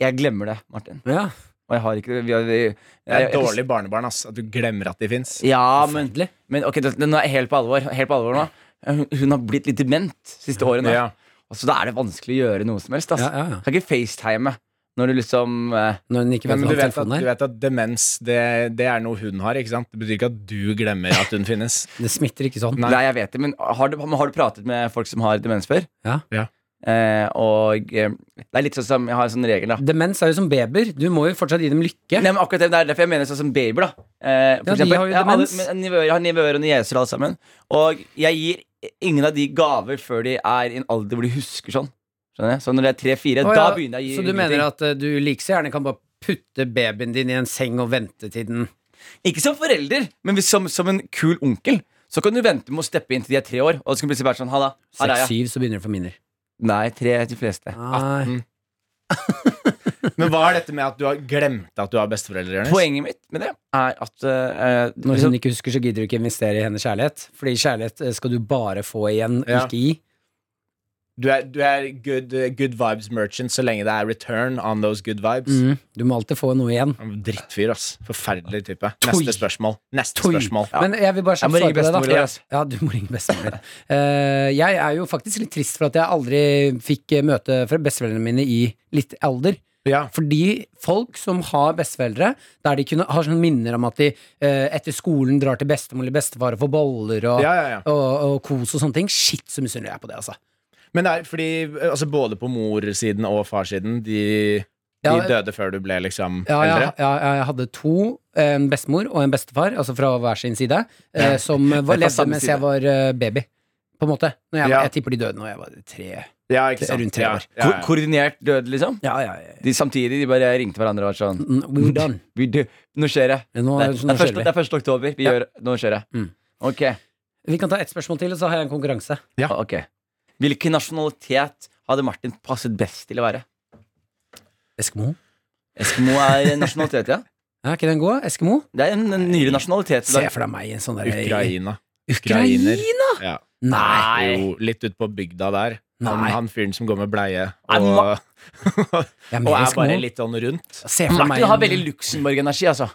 jeg glemmer det, Martin.
Ja,
Og jeg har ikke det. Vi har, vi,
Det
jeg-
er et dårlig barnebarn ass, at du glemmer at de fins.
Ja, men,
Forferdelig.
men ok, det, det, nå er jeg helt på alvor. Helt på alvor nå. Hun, hun har blitt litt dement siste året. nå.
Ja.
Og Så da er det vanskelig å gjøre noe som helst. Ass.
ja, ja, ja.
Kan ikke facetime når du liksom eh,
Når hun ikke
Men du
vet hva
vet, at,
telefonen
du
er.
vet at demens det, det er noe hun har. ikke sant? Det betyr ikke at du glemmer at hun finnes.
Det smitter ikke sånn.
Nei.
Nei. jeg vet det, men har du, men har du pratet med folk som har demens før?
Ja.
Ja.
Eh, og eh, det er litt sånn som Jeg har en sånn regel, da.
Demens er jo som babyer. Du må jo fortsatt gi dem lykke.
Nei, men akkurat det, det er derfor jeg mener sånn som babyer, da. Eh, for
Ja, de har jo
jeg
demens.
alle- men nivåer, jeg har nivåer og nieser alle sammen. Og jeg gir ingen av de gaver før de er i en alder hvor de husker sånn. Skjønner jeg? Så når de er tre-fire,
Å,
da
ja,
begynner jeg å gi
Så du mener at eh, du like så gjerne kan bare putte babyen din i en seng og vente til den
Ikke som forelder, men hvis, som, som en kul onkel. Så kan du vente med å steppe inn til de er tre år, og så kan du plutselig være sånn, ha da, her er jeg.
seks-syv, så begynner du å få minner?
Nei, tre er de fleste.
Nei.
Men hva er dette med at du har glemt at du har besteforeldre? Jonis?
Poenget mitt med det er at eh,
Når
liksom-
hun ikke husker, så gidder du ikke investere i hennes kjærlighet. Fordi kjærlighet eh, skal du bare få igjen,
Ja.
ikke gi.
Du er, du er good, good vibes merchant så lenge det er return on those good vibes.
Mm. Du må alltid få noe igjen.
Drittfyr, ass. Forferdelig type.
Tui.
Neste spørsmål. Neste
Tui.
spørsmål.
Men jeg vil bare
Jeg
svare
må
på
ringe
det,
bestemor.
da.
Ja.
Ja, du må ringe bestemor. Eh, jeg er jo faktisk litt trist for at jeg aldri fikk eh, møte fra besteforeldrene mine i litt alder.
Ja.
Fordi folk som har besteforeldre, der de kunne, har sånne minner om at de eh, etter skolen drar til bestemor eller bestefar og får boller og,
Ja, ja, ja.
og, og kos og sånne ting, shit så misunnelig jeg er på det, altså.
Men det er fordi altså, både på morsiden og farssiden, de, de
Ja, eh,
døde før du ble liksom
Ja, jeg,
eldre.
ja, jeg hadde to, eh, en bestemor og en bestefar, altså fra hver sin side, eh, som var,
fra
levde
samme
mens
side.
jeg var eh, baby, på en måte. Når jeg,
Ja.
jeg tipper de døde når jeg var tre.
Ja, ikke sant?
Rundt tre år.
Ja, ja,
Ko-
ja.
Koordinert død, liksom?
Ja, ja, ja.
De samtidig de bare ringte hverandre og var sånn
Mm, We're done.
«Vi dø- Nå skjer det.
Nå,
Det er, det
nå
er, første,
skjer
det
vi.
er første oktober. Vi
Ja.
gjør, nå skjer det.
Mm.
Ok.
Vi kan ta ett spørsmål til, og så har jeg en konkurranse.
Ja.
ok Hvilken nasjonalitet hadde Martin passet best til å være?
Eskimo?
Eskimo er en nasjonalitet, ja.
Er ikke den god? Eskimo?
Det er en, en nyere nasjonalitet.
Se for deg meg i en sånn der
Ukraina.
Ukrainer?
Ja.
Nei.
Jo, litt ut på bygda der. Han,
Nei.
han fyren som går med bleie
Nei,
og,
ma-
Jeg er
og
mer
er
Eskimo.
bare litt sånn rundt.
Se for deg meg
Martin har veldig
i en-
Luxembourg-energi, altså.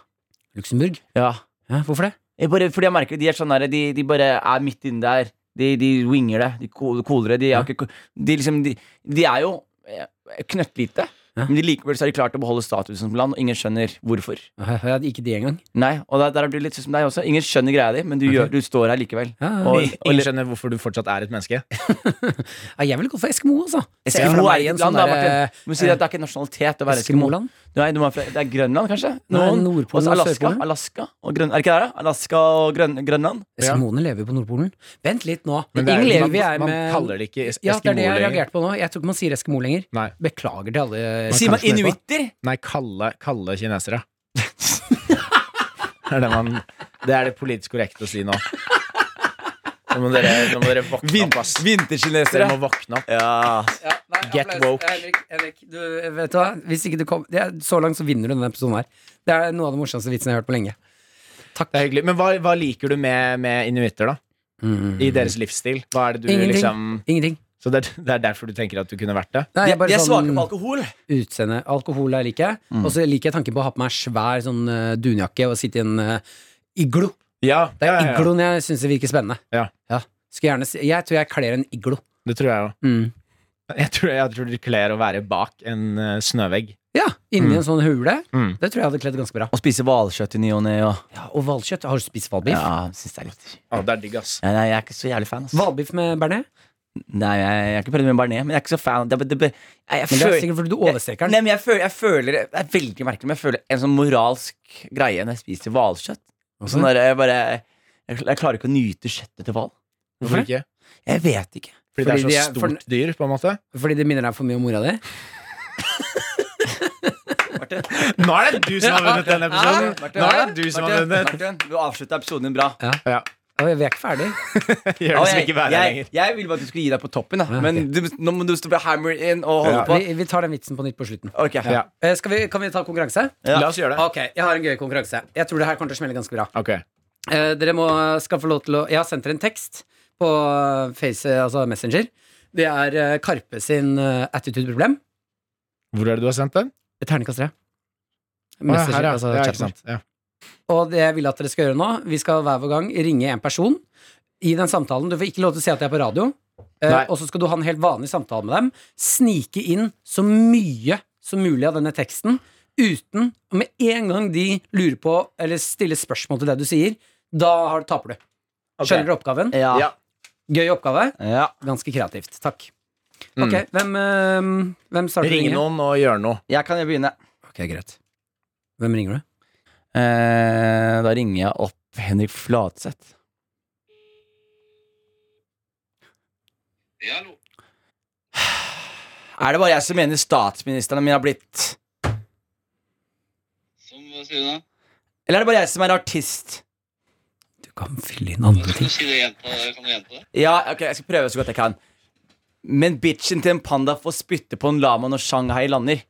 Luxembourg?
Ja.
Ja, hvorfor det?
Jeg bare, fordi jeg merker De er sånn der, de, de bare er midt inne der. De, de winger det. De ko- koler det. De er, ikke, ko- de, liksom, de, de er jo eh, knøttlite,
Ja.
men de likevel så har de klart å beholde statusen som land, og ingen skjønner hvorfor.
Ja, Ikke de engang.
Nei, og der, der blir det litt sånn som deg også. Ingen skjønner greia di, men du, gjør, du står her likevel.
Ja, ja.
Og, og,
Ingen skjønner hvorfor du fortsatt er et menneske.
Ja, jeg ville gått for Eskimo, altså. Se for
Eskimo
meg
er
i en
ikke et
sånn
land, da,
der,
Martin. Du må si at det er ikke en nasjonalitet å være eskimo.
Eskimoland.
Nei, du må være fra, det er Grønland, kanskje?
Nei, Nordpolen
også
og
Alaska,
Sørpolen.
Alaska og Grøn, Er det ikke det? da? Alaska og Grøn, Grønland?
Eskimoene lever jo på Nordpolen. Vent litt nå.
Men det er,
Ingen
jo-
lever vi er
man, man
med-
kaller det ikke es-
Ja, det er
Eskimo
det jeg
lenger.
reagerte på nå. Jeg tror ikke man sier Eskimo lenger.
Nei.
Beklager til alle
Sier man
kanskje det er på.
inuitter?
Nei, kalle, kalle kinesere. det, er det, man, det er det politisk korrekte å si nå. Nå må dere, nå må dere våkne opp, ass. Dere
Vinterkinesere?
må våkne opp.
Ja.
Ja, nei,
Get
applaus.
woke.
Henrik, Henrik du, vet du hva? Hvis ikke du kom, det er, så langt så vinner du denne episoden her. Det er noe av det morsomste vitsen jeg har hørt på lenge.
Det er hyggelig. Men hva, hva liker du med, med inuitter, da?
Mm.
I deres livsstil? Hva er det du
Ingenting.
liksom
Ingenting.
Så det, er- det er derfor du tenker at du kunne vært det?
Nei,
De,
jeg er bare
de er svake
sånn-
på alkohol.
Utseende. Alkohol er like. Og så liker jeg tanken på å ha på meg svær sånn eh, dunjakke og sitte i en eh, iglo.
Ja,
Det er
ja, ja, ja.
igloen jeg syns virker spennende.
Ja.
Skulle gjerne se, jeg tror jeg kler en iglo.
det tror jeg jo.
Mm.
Jeg tror, jeg tror du kler å være bak en eh, snøvegg.
Ja, inni en sånn hule.
Mm.
Det tror jeg hadde kledd ganske bra.
Og spise hvalkjøtt i ny og ne. og-
Ja, og hvalkjøtt. Har du spist hvalbiff?
Ja, syns det er litt
Å, det er digg, ass.
ja, Nei, jeg er ikke så jævlig fan. Altså.
Hvalbiff med bearnés?
Nei, jeg, jeg har ikke prøvd med bearnés, men jeg er ikke så fan. Det, det, det, jeg, jeg
Men det er
føler-
sikkert fordi du overstreker
Nei,
den.
men jeg føler, jeg føler Det er veldig merkelig, men jeg føler en sånn moralsk greie når jeg spiser hvalkjøtt. Sånn der, jeg bare jeg, jeg klarer ikke å nyte kjøttet til hval.
Hvorfor ikke?
Jeg vet ikke.
Fordi,
Fordi
det
de
er
er
så
for-
stort dyr, på en måte?
Fordi det minner deg for mye om mora di?
Martin.
Nå er det du som har vunnet denne episoden.
Martin,
Nå er det du som har
Martin,
vunnet.
Martin, du avslutta episoden din bra.
Å, Vi er ikke ferdig.
Gjør det som
jeg,
ikke være
jeg,
lenger. Ah,
jeg ville bare at du skulle gi deg på toppen, da. Men du, nå må du stå på hammer in og holde
Ja.
på.
Vi, vi tar den vitsen på nytt på slutten.
Ok.
Ja.
Eh, Skal vi, kan vi ta konkurranse?
Ja.
La oss gjøre det.
Ok, Jeg har en gøy konkurranse. Jeg tror det her kommer til å smelle ganske bra.
Ok.
Eh, dere må, skal få lov til å Jeg har sendt dere en tekst på Face, altså Messenger. Det er eh, Karpe sin eh, attitude-problem.
Hvor er det du har sendt den?
Terningkast tre.
Å, ja, her,
Messenger,
ja.
altså
ja, ikke
chatten.
sant. Ja.
Og det jeg vil at dere skal gjøre nå, vi skal hver vår gang ringe en person i den samtalen. Du får ikke lov til å si at jeg er på radio. Eh,
Nei.
og så skal du ha en helt vanlig samtale med dem. Snike inn så mye som mulig av denne teksten uten Og med en gang de lurer på eller stiller spørsmål til det du sier, da har, taper du. Skjønner dere oppgaven?
Ja.
Ja.
Gøy oppgave.
Ja.
Ganske kreativt. Takk. Ok, hvem, eh, hvem starter å
Ring
ringe?
noen og gjør noe.
Jeg kan begynne.
Ok, greit. Hvem ringer du?
Eh, da ringer jeg opp Henrik Flatseth. Er det bare jeg som mener statsministeren min har blitt?
Som, hva sier du da?
Eller er det bare jeg som er artist?
Du kan fylle inn andre
Hva
ting.
skal du si det gjenta? Kan du gjenta det?
Ja, ok, jeg skal prøve så godt jeg kan. Men bitchen til en panda får spytte på en lama når Shanghai lander.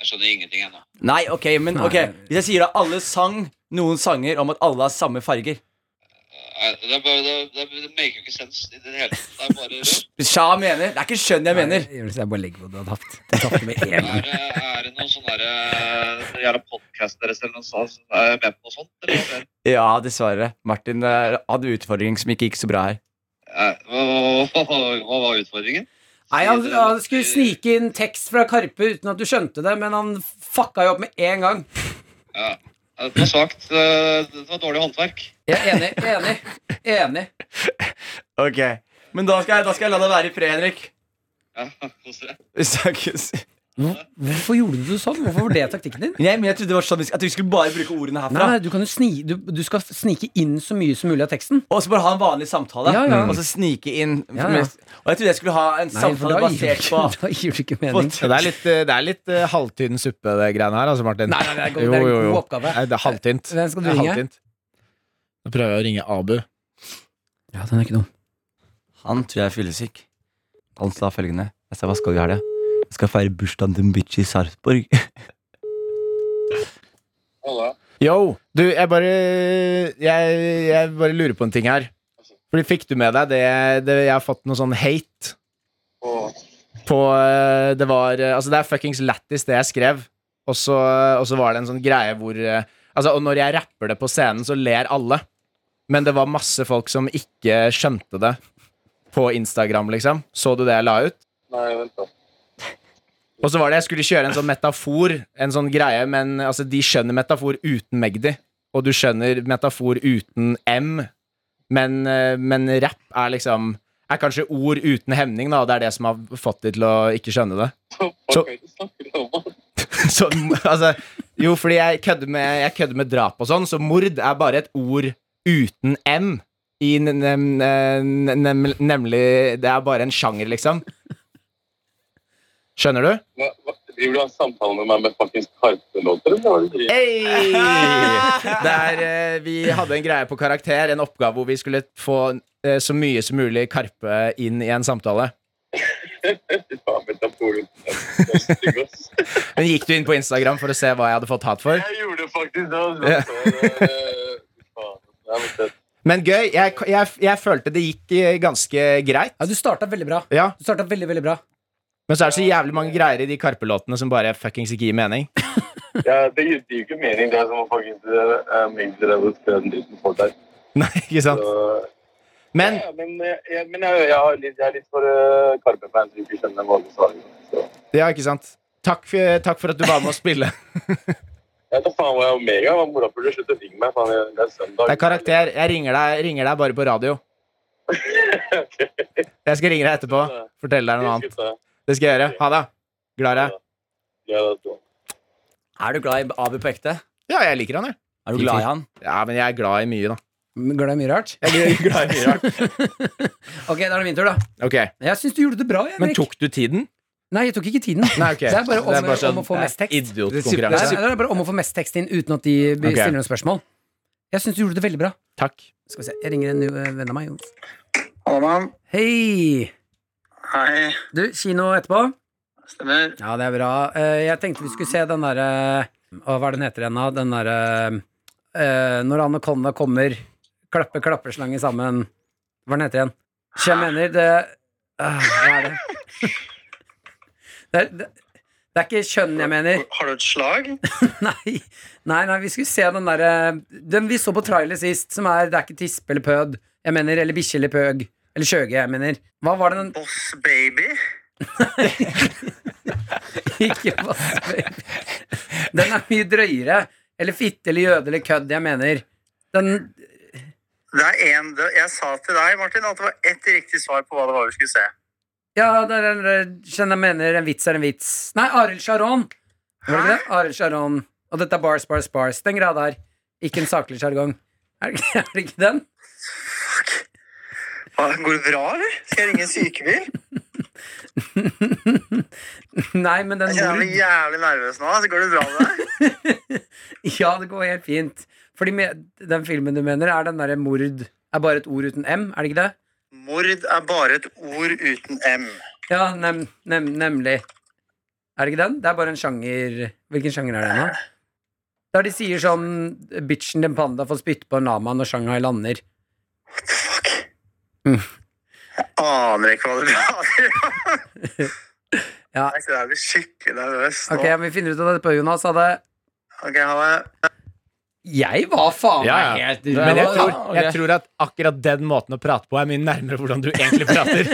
Jeg skjønner ingenting ennå.
Nei, ok, men ok
Nei.
Hvis jeg sier da alle sang noen sanger om at alle har samme farger
Nei, Det, er bare- det, det, det maker jo ikke sens i det hele tatt. Det er bare rødt.
Sja mener, det er ikke skjønn jeg mener
Jonas, Jeg bare legger på at du hadde hatt. Du tapte med en gang.
Er, det- er det noen sånn derre Jævla podkast deres eller noe sånt? Er jeg med på noe sånt? Eller?
Ja, dessverre Martin eh, hadde utfordring som ikke gikk så bra her
Nei, Eh, Hva, hva, hva- hva var utfordringen?
Nei, han, han skulle snike inn tekst fra Karpe uten at du skjønte det, men han fucka jo opp med en gang.
Ja. Ja, Det var svakt. eh, Det var dårlig håndverk.
Jeg er enig. Enig. enig.
Ok Men da skal jeg, da skal jeg la deg være i fred, Henrik
Ja, kos dere.
Vi snakkes
Hvorfor gjorde du sånn? Hvorfor var det taktikken din?
Nei, men jeg trodde det var sånn vi sk- At vi skulle bare bruke ordene
Nei,
herfra
nei, du, kan jo sni, du, du skal snike inn så mye som mulig av teksten.
Og så bare ha en vanlig samtale
Ja, ja.
Og så snike inn
Ja, ja.
Og jeg trodde jeg skulle ha en
Nei, for
samtale
da gir,
basert
du
på
ikke- da gir du ikke
på-
mening.
Ja, det er litt, eh, det er litt eh, halvtynn suppe, det greiene her, altså, Martin.
Nei, nei, det er god- det er en god oppgave.
Nei, det er halvtynt.
Hvem skal du
Det er
ringe?
halvtynt. Nå prøver jeg å ringe Abu.
Ja, den er ikke dum.
Han tror jeg er fyllesyk. Han sa følgende Jeg sa, hva skal du i helga? Jeg skal feire bursdagen til en bitch i Sarpsborg.
Halla.
Yo, du, jeg bare, jeg, jeg bare lurer på en ting her. Fordi fikk du med deg det, det Jeg har fått noe sånn hate
Og
på eh, Det var eh, Altså, det er fuckings lættis, det jeg skrev. Og så, og så var det en sånn greie hvor eh, Altså, og når jeg rapper det på scenen, så ler alle. Men det var masse folk som ikke skjønte det på Instagram, liksom. Så du det jeg la ut?
Nei, vent, da.
Og så var det jeg skulle kjøre en sånn metafor, en sånn greie, men altså, de skjønner metafor uten Magdi, og du skjønner metafor uten M, men, eh, men rap er liksom er kanskje ord uten hemning, da, og det er det som har fått de til å ikke skjønne det. Så-
Fuck, hva er det du snakker om?
Så, altså, jo, fordi jeg kødder med, jeg kødder med drap og sånn, så mord er bare et ord uten M. I nem, nem, nem, nemlig Det er bare en sjanger, liksom. Skjønner du?
Hva- hva- Driver du og har samtale med meg med fuckings karpelåter, eller hva er det du driver med?
Hey! Der eh, vi hadde en greie på karakter, en oppgave hvor vi skulle få eh, så mye som mulig Karpe inn i en samtale.
Fy faen, metaforen. Det er stygg, ass.
Men gikk du inn på Instagram for å se hva jeg hadde fått hat for?
Jeg gjorde faktisk det. Altså.
Ja.
Fy faen, det er litt tett.
Men gøy. Jeg, jeg, jeg følte det gikk eh, ganske greit.
Ja, du starta veldig bra.
Ja,
Du startet veldig, veldig bra.
Men så er det så jævlig mange greier i de Karpe-låtene som bare fuckings ikke gir mening.
Ja, det gir det gir ikke mening, det er som å faktisk uh, mengde deg på køen utenfor der.
Nei, ikke sant?
Så,
Men
ja, men eh, jeg, men jeg, jeg, har litt, jeg er litt for uh, Karpe-fans, vi ikke skjønner hva du sa. Så.
Ja, ikke sant? Takk, for- takk for at du var med å spille.
Jeg vet da faen hva jeg er omega, men mora burde slutte å ringe meg, faen, jeg- det er søndag.
Det er karakter. Jeg ringer deg, ringer deg bare på radio. Jeg skal ringe deg etterpå. Fortelle deg noe annet. Det skal jeg gjøre. Ha det. Glad i deg.
Ja, det er sånn.
Er du glad i Abu på ekte?
Ja, jeg liker han, jeg.
Er du glad i han?
Ja, men jeg er glad i mye, da.
Mm, Glad i mye rart.
Jeg er glad i mye rart.
Ok, da er det min tur, da.
Ok,
Jeg syns du gjorde det bra,
Men
Henrik.
tok du tiden?
Nei, jeg tok ikke tiden.
Nei, ok.
Så det er bare om,
sånn-
om å få mest tekst. Det
Idiotkonkurranse.
er, det er bare om å få mest tekst inn uten at de b-
Ok.
stiller noen spørsmål. Jeg syns du gjorde det veldig bra.
Takk.
Skal vi se, Jeg ringer en ny, eh, venn av meg. Jonas.
Hallo, mann.
Hei!
Hei.
Du, kino etterpå?
Stemmer.
Ja, det er bra. Eh, Jeg tenkte vi skulle se den derre eh, Hva er det den heter igjen, da? Den derre eh, Når anakonda kommer, klappe klappeslanger sammen Hva er den heter igjen? Så jeg mener det Ah, Hva er det? Det er, det, det er ikke kjønn jeg mener.
Har du et slag?
Nei, nei, nei vi skulle se den derre Den vi så på trailer sist, som er Det er ikke tispe eller pød, jeg mener. Eller bikkje eller pøg. Eller skjøge, jeg mener. Hva var det den
Boss baby?
Ikke vassbaby. Den er mye drøyere. Eller fitte eller jøde eller kødd, jeg mener. Den
Det er en, det- jeg sa til deg, Martin, at det var ett riktig svar på hva det var vi skulle se.
Ja, det er en, skjønner jeg mener en vits er en vits. Nei, Arild Sharon. Var det ikke det? Arild Sharon. Og dette er bars, bars, bars. Den greia der. Ikke en saklig sjargong. Er, det- er det ikke den?
Hva, Går det bra, eller? Skal jeg ringe en sykebil?
Nei, men den
Jeg kjenner meg
hvor
jævlig nervøs nå. altså. Går det bra med deg?
Ja, det går helt fint. Fordi med, den filmen du mener, er den derre mord Er bare et ord uten M, er det ikke det?
Mord er bare et ord uten M.
Ja, nem, nem, nemlig. Er det ikke den? Det er bare en sjanger Hvilken sjanger er det nå? Der de sier sånn 'Bitchen den panda får spytte på en lama når Shanghai lander'.
Fuck. Jeg aner ikke hva det prater om.
Ja.
Jeg kjenner meg skikkelig nervøs nå.
Ok, men vi finner ut av dette, Jonas. Hadde
Ok, ha det.
Jeg var faen meg
Ja, ja.
helt
Men jeg
rå.
tror, jeg tror at akkurat den måten å prate på er mye nærmere hvordan du egentlig prater.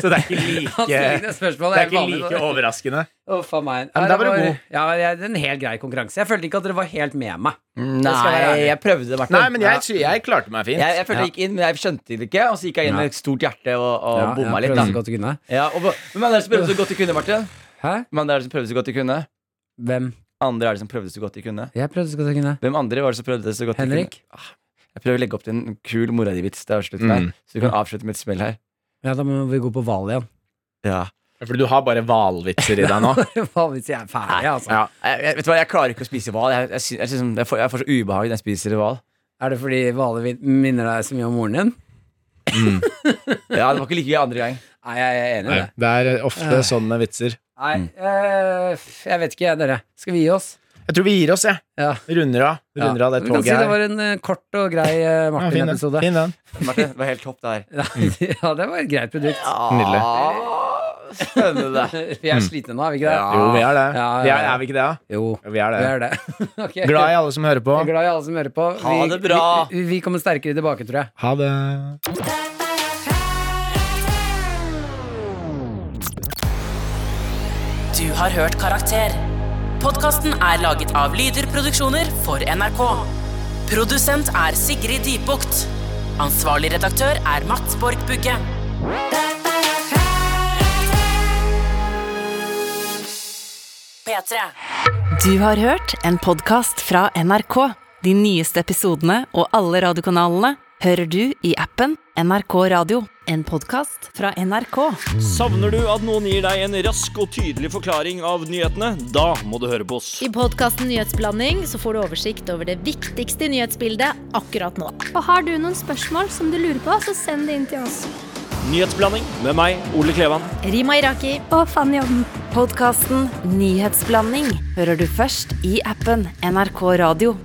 Så det er ikke
Han
like,
stiller det spørsmålet,
det er
jeg
ikke
vanlig-
like overraskende.
Å, faen
Ja,
meg.
men
Nei,
da
det
var du god.
Ja, jeg- det er en helt grei konkurranse. Jeg følte ikke at dere var helt med meg. skal jeg være
Mm, Nei,
ærlig.
jeg prøvde, Martin.
Nei, men jeg, jeg klarte meg fint.
Jeg, jeg følte jeg gikk inn, men jeg skjønte det ikke. Og så gikk jeg inn med et stort hjerte og, og
Ja,
bomma
jeg
litt.
prøvde så
Da.
godt du kunne.
Ja, og, hvem er det som prøvde så godt de kunne, Martin?
Hæ?
Hvem er det som prøvde så godt de kunne?
Hvem?
Andre er det som prøvde så godt de kunne.
Jeg prøvde så godt jeg kunne.
Hvem andre var det som prøvde så godt de
Henrik?
kunne? Ah, Jeg prøver å legge opp til en kul mora di-vits til avslutt her.
Mm.
Så du kan avslutte med et smell her.
Ja, da må vi gå på Val igjen.
Ja.
Fordi du har bare hvalvitser i deg nå.
Vanligvis er jeg ferdig, altså.
Ja.
Jeg, jeg, vet du hva, jeg klarer ikke å spise hval. Jeg, jeg, sy- jeg, synes- jeg, får, jeg får så ubehag når jeg spiser hval.
Er det fordi Hvale minner deg så mye om moren din?
Ja, det var ikke like gøy andre gang.
Nei, jeg er enig i det.
Det er ofte sånn med vitser.
Nei, eh, f- jeg vet ikke, jeg, dere. Skal vi gi oss?
Jeg tror vi gir oss, jeg.
Ja.
Runder av, Runder av det
Vi kan
toget
si det
her.
var en eh, kort og grei eh,
Ja, fin den.
Martin-episode.
Fin den.
Martin, det var helt topp, det her.
ja, det var et greit produkt.
Nydelig.
Ah, Spennende.
Vi er slitne nå, er vi ikke det?
Jo, vi er det.
Ja, ja,
Vi
ja.
er, er vi ikke det, da?
Jo,
Jo, Vi er
vi
det.
er det. Ok.
Glad i alle som hører på.
Jeg er glad i alle som hører på.
Ha det bra.
Vi, vi kommer sterkere tilbake, tror jeg.
Ha det.
Du har hørt Karakter. Podkasten er laget av Lyder Produksjoner for NRK. Produsent er Sigrid Dybukt. Ansvarlig redaktør er Mats Borg Bugge. P3.
Du har hørt en podkast fra NRK. De nyeste episodene og alle radiokanalene hører du i appen NRK Radio. En podkast fra NRK.
Savner du at noen gir deg en rask og tydelig forklaring av nyhetene? Da Ah, må du høre på oss.
I podkasten Nyhetsblanding så får du oversikt over det viktigste nyhetsbildet akkurat nå.
Og har du noen spørsmål som du lurer på, så send det inn til oss.
Nyhetsblanding med meg, Ole Klevan.
Rima Iraki,
Og Fanny Odden.
Podkasten Nyhetsblanding hører du først i appen NRK Radio.